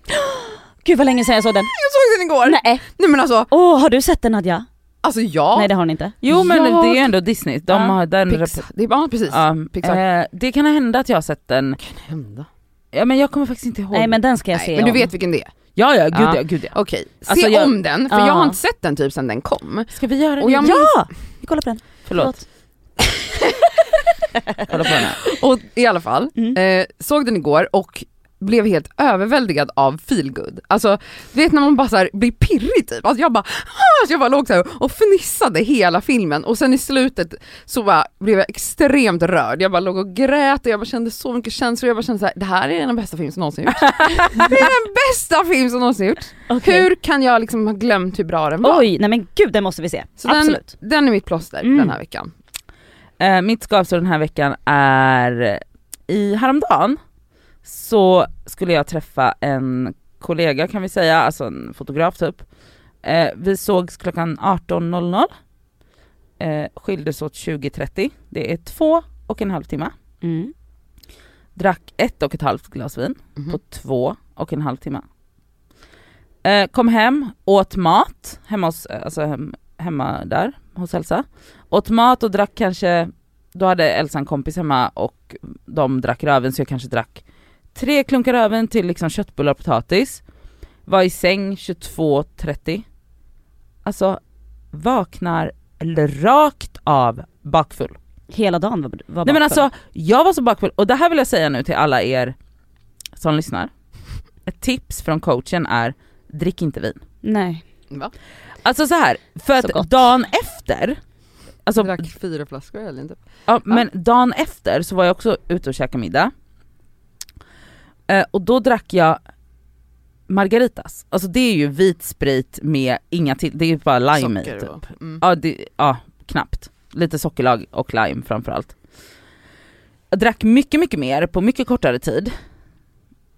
Speaker 4: Gud vad länge sedan jag såg den.
Speaker 2: Jag såg den igår! Nej,
Speaker 4: Nej.
Speaker 2: men alltså,
Speaker 4: Åh har du sett den Nadja?
Speaker 2: alltså ja.
Speaker 4: Nej det har hon inte.
Speaker 3: Jo men
Speaker 2: Jag-
Speaker 3: det är ju ändå Disney, de
Speaker 4: Ja.
Speaker 3: har den
Speaker 2: Pixar. Det är bara precis.
Speaker 3: Ja,
Speaker 2: Pixar.
Speaker 3: eh, det kan hända att jag har sett den,
Speaker 2: Kan hända.
Speaker 3: ja, men jag kommer faktiskt inte ihåg.
Speaker 4: Nej men den ska jag se
Speaker 2: Nej, men du
Speaker 4: om.
Speaker 2: vet vilken det är?
Speaker 3: Ja ja, gud
Speaker 2: Ja.
Speaker 3: ja, gud ja.
Speaker 2: Okej,
Speaker 3: Alltså,
Speaker 2: se
Speaker 3: jag-
Speaker 2: om den för
Speaker 4: Ja.
Speaker 2: jag har inte sett den typ sedan den kom.
Speaker 3: Ska vi göra det?
Speaker 2: Och jag minns,
Speaker 4: Ja! Vi kollar på den.
Speaker 3: Förlåt, kolla på den här.
Speaker 2: och i alla fall,
Speaker 4: Mm.
Speaker 2: eh, såg den igår och blev helt överväldigad av feelgood. Alltså du vet när man bara så här blir pirrig typ. Alltså jag bara, ah! så jag bara låg så här och fnissade hela filmen och sen i slutet så bara blev jag extremt rörd. Jag bara låg och grät och jag bara kände så mycket känslor. Jag bara kände så här, det här är den bästa film som någonsin
Speaker 4: <laughs>
Speaker 2: gjorts. det är den bästa film som någonsin gjorts.
Speaker 4: Okej.
Speaker 2: Hur kan jag liksom ha glömt hur bra den var?
Speaker 4: Oj, nej men gud den måste vi se.
Speaker 2: så den,
Speaker 4: Absolut.
Speaker 2: den är mitt plåster
Speaker 4: Mm.
Speaker 2: den här veckan.
Speaker 3: Eh, mitt skavsår den här veckan är, i häromdagen så skulle jag träffa en kollega kan vi säga, alltså en fotograf typ. Eh, vi sågs klockan 18.00, eh, skildes åt 20.30, det är två och en halv timme.
Speaker 4: Mm.
Speaker 3: Drack ett och ett halvt glas vin
Speaker 2: Mhm.
Speaker 3: på två och en halv timme. Eh, kom hem, åt mat, hemma, hos, alltså hem, hemma där hos Elsa. Åt mat och drack kanske, då hade Elsa en kompis hemma och de drack röven så jag kanske drack tre klunkar röven till liksom köttbullar och potatis. Var i säng 22.30. Alltså vaknar rakt av bakfull.
Speaker 4: Hela dagen var, var
Speaker 3: Nej men
Speaker 4: bakfull.
Speaker 3: alltså, jag var så bakfull. Och det här vill jag säga nu till alla er som lyssnar. Ett tips från coachen är, drick inte vin.
Speaker 4: Nej.
Speaker 2: Va?
Speaker 3: Alltså så här, för
Speaker 4: Så
Speaker 3: att
Speaker 4: gott.
Speaker 3: dagen efter, alltså,
Speaker 2: drack fyra flaskor typ. eller inte.
Speaker 3: ja, men dagen efter så var jag också ute och käkade middag. Eh, och då drack jag Margaritas. Alltså det är ju vit sprit med inga till, det är ju bara lime i
Speaker 2: Socker
Speaker 3: typ.
Speaker 2: och- Mm.
Speaker 3: Ja, det, ja, knappt. Lite sockerlag och lime framförallt. Jag drack mycket, mycket mer på mycket kortare tid.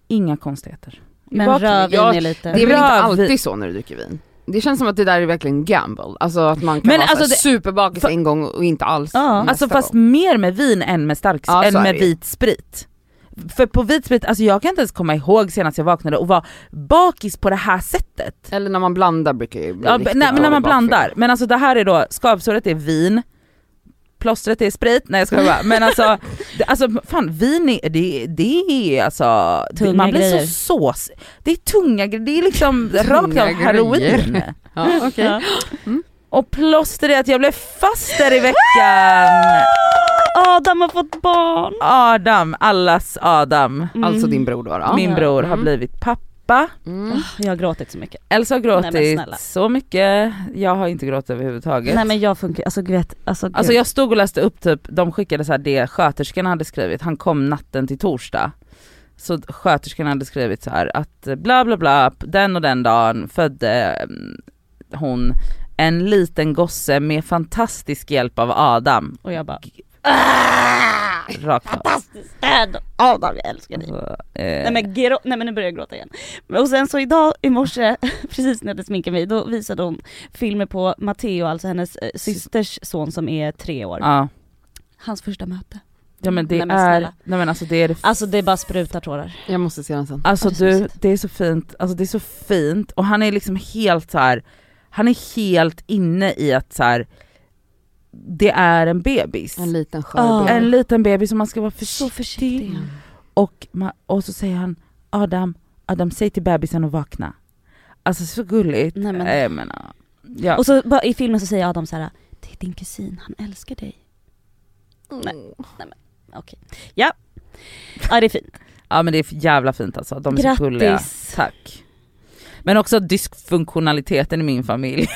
Speaker 3: Inga konstigheter.
Speaker 4: Men
Speaker 3: Vad-
Speaker 4: rödvin
Speaker 2: jag-
Speaker 4: är lite...
Speaker 2: Det är väl inte
Speaker 3: Bra, vi-
Speaker 2: alltid så när du dricker vin? Det känns som att det där är verkligen gamble, alltså att man kan
Speaker 3: Men
Speaker 2: vara
Speaker 3: alltså
Speaker 2: alltså
Speaker 3: det-
Speaker 2: superbakis
Speaker 3: Fa-
Speaker 2: en gång och inte alls
Speaker 4: Ja.
Speaker 2: nästa
Speaker 3: Alltså fast
Speaker 2: gång.
Speaker 3: mer med vin än med stark,
Speaker 2: Ja, så
Speaker 3: än
Speaker 2: är
Speaker 3: med
Speaker 2: det ju.
Speaker 3: vit sprit. För på vit sprit, alltså jag kan inte ens komma ihåg senast jag vaknade och var bakis på det här sättet.
Speaker 2: Eller när man blandar brukar ju bli
Speaker 3: Ja,
Speaker 2: riktigt
Speaker 3: nej, men när
Speaker 2: dålig
Speaker 3: man
Speaker 2: bakfylla.
Speaker 3: blandar. Men alltså det här är då, skavsåret är vin, plåstret är sprit, nej jag skojar bara. Men
Speaker 4: <laughs>
Speaker 3: alltså, det, alltså fan vin är, det, det är alltså,
Speaker 4: Tunga
Speaker 3: det, man blir
Speaker 4: grejer.
Speaker 3: så sås, det är tunga grejer, det är
Speaker 4: <laughs>
Speaker 3: liksom rakt
Speaker 2: Tunga
Speaker 3: av heroin.
Speaker 2: grejer. Ja, okej.
Speaker 4: Ja.
Speaker 3: Och plåster är att jag blev fast där i veckan.
Speaker 4: Adam har fått barn!
Speaker 3: Adam, allas Adam,
Speaker 4: Mm.
Speaker 2: Alltså din bror då. då.
Speaker 3: min bror har
Speaker 2: Mm.
Speaker 3: blivit pappa.
Speaker 2: Mm.
Speaker 4: Ah, Jag har gråtit så mycket.
Speaker 3: Elsa har
Speaker 4: men
Speaker 3: gråtit
Speaker 4: snälla.
Speaker 3: så mycket, jag har inte gråtit överhuvudtaget.
Speaker 4: Nej men jag funkar, alltså vet, alltså,
Speaker 3: Alltså
Speaker 4: gud.
Speaker 3: jag stod och läste upp typ, de skickade så här det sköterskan hade skrivit, han kom natten till torsdag. Så sköterskan hade skrivit så här att eh, bla bla bla, den och den dagen födde mm, hon en liten gosse med fantastisk hjälp av Adam.
Speaker 4: Och jag bara,
Speaker 3: Ah! Rakt av.
Speaker 4: fantastiskt! Adam, Adam jag älskar dig.
Speaker 3: Så,
Speaker 4: Nej
Speaker 3: eh,
Speaker 4: men, grå, nej men nu börjar jag gråta igen. Och sen så idag i morse, <laughs> precis när jag hade sminkat mig, då visade hon filmer på Matteo, alltså hennes eh, systers son som är tre år.
Speaker 3: ja.
Speaker 4: Hans första möte.
Speaker 3: ja men det
Speaker 4: Nej, men
Speaker 3: är,
Speaker 4: snälla.
Speaker 3: nej men alltså det är det
Speaker 4: Alltså det bara sprutar tårar.
Speaker 2: Jag måste se den sen.
Speaker 3: Alltså
Speaker 4: Ja, det är så
Speaker 3: du,
Speaker 4: mysigt.
Speaker 3: det är så fint, alltså det är så fint och han är liksom helt så här. han är helt inne i att så här. det är en bebis.
Speaker 2: En liten skör
Speaker 4: Ja.
Speaker 2: bebis.
Speaker 3: En liten bebis och man ska vara försiktig.
Speaker 4: Så försiktig.
Speaker 3: Och, man, och så säger han Adam, Adam säg till bebisen att vakna. Alltså så gulligt.
Speaker 4: Nej, men-
Speaker 3: Eh, men, ja. ja.
Speaker 4: Och så bara i filmen så säger Adam så här: det är din kusin, han älskar dig.
Speaker 2: Mm.
Speaker 4: Okej. Ja. Ja det är fint.
Speaker 3: ja men det är för jävla fint alltså, de är så gulliga.
Speaker 4: Grattis.
Speaker 3: Tack. Men också dysfunktionaliteten i min familj.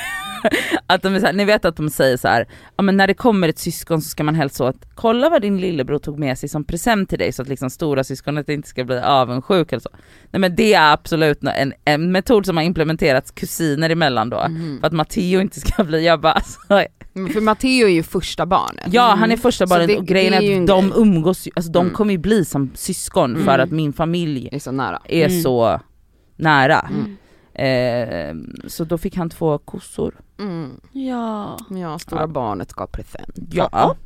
Speaker 3: <laughs> att de är så här, ni vet att de säger så här, ja men när det kommer ett syskon så ska man helst så att kolla vad din lillebror tog med sig som present till dig så att liksom stora syskonet inte ska bli avundsjuk eller så. Nej men det är absolut nå- en, en metod som har implementerats kusiner emellan då.
Speaker 2: Mhm.
Speaker 3: För att Matteo inte ska bli, jag bara alltså,
Speaker 2: Men Mm, För Matteo är ju första barnet.
Speaker 3: Ja han är första
Speaker 2: Mm. Så
Speaker 3: barnet
Speaker 2: det-
Speaker 3: och grejen
Speaker 2: det är ju
Speaker 3: är
Speaker 2: en
Speaker 3: att
Speaker 2: grej.
Speaker 3: de umgås ju, alltså de
Speaker 2: Mm.
Speaker 3: kommer ju bli som syskon för att min familj
Speaker 2: Det är så nära.
Speaker 3: är
Speaker 4: Mm.
Speaker 3: så nära.
Speaker 2: Mm.
Speaker 3: Eh, så då fick han två kossor.
Speaker 2: Mm.
Speaker 4: Ja.
Speaker 2: Ja, stora
Speaker 3: Ja.
Speaker 2: barnet ska ha present.
Speaker 3: Ja.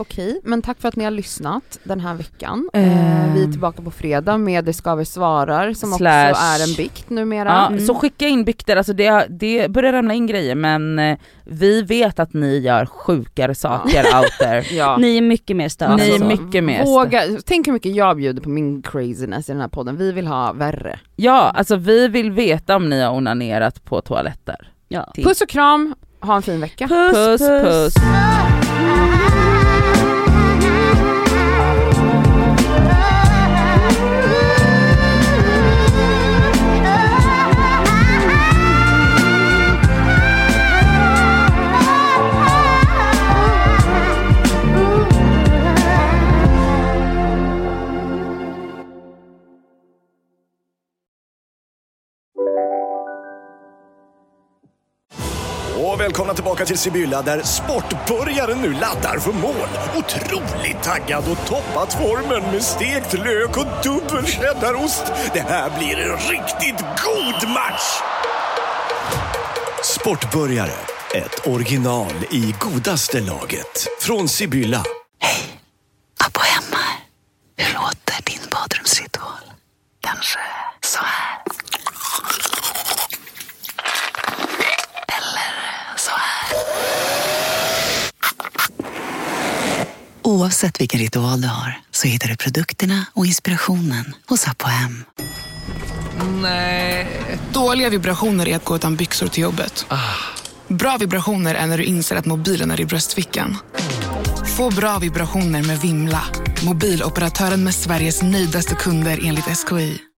Speaker 2: Okej, men tack för att ni har lyssnat den här veckan. Eh,
Speaker 3: Ehm.
Speaker 2: Vi är tillbaka på fredag med Det skaver svarar som
Speaker 3: Slash.
Speaker 2: också är en bikt numera.
Speaker 3: Ja,
Speaker 4: Mm.
Speaker 3: Så skicka in bikter, alltså det, det börjar ramla in grejer men eh, vi vet att ni gör sjukare saker out <laughs> there.
Speaker 2: Ja.
Speaker 4: Ni är mycket mer stöd.
Speaker 3: Ni är
Speaker 2: Alltså,
Speaker 3: mycket mer
Speaker 2: Våga, tänk hur mycket jag bjuder på min craziness i den här podden. Vi vill ha värre.
Speaker 3: Ja alltså vi vill veta om ni har onanerat på toaletter.
Speaker 4: Ja.
Speaker 3: Till-
Speaker 2: Puss och kram, ha en fin vecka.
Speaker 3: Puss puss. puss.
Speaker 5: Och välkomna tillbaka till Sibylla där sportbörjaren nu laddar för mål. Otroligt taggad och toppat formen med stekt lök och dubbel cheddarost. Det här blir en riktigt god match! Sportbörjare, ett original i godaste laget. Från Sibylla.
Speaker 6: Abba hemma. Hur låter din badrumsritual? Kanske så här. Eller så här. Oavsett vilken ritual du har så hittar du produkterna och inspirationen hos Apohem.
Speaker 7: eh, Dåliga vibrationer är att gå utan byxor till jobbet. Bra vibrationer är när du inser att mobilen är i bröstfickan. Få bra vibrationer med Vimla. Mobiloperatören med Sveriges nöjdaste kunder enligt SKI.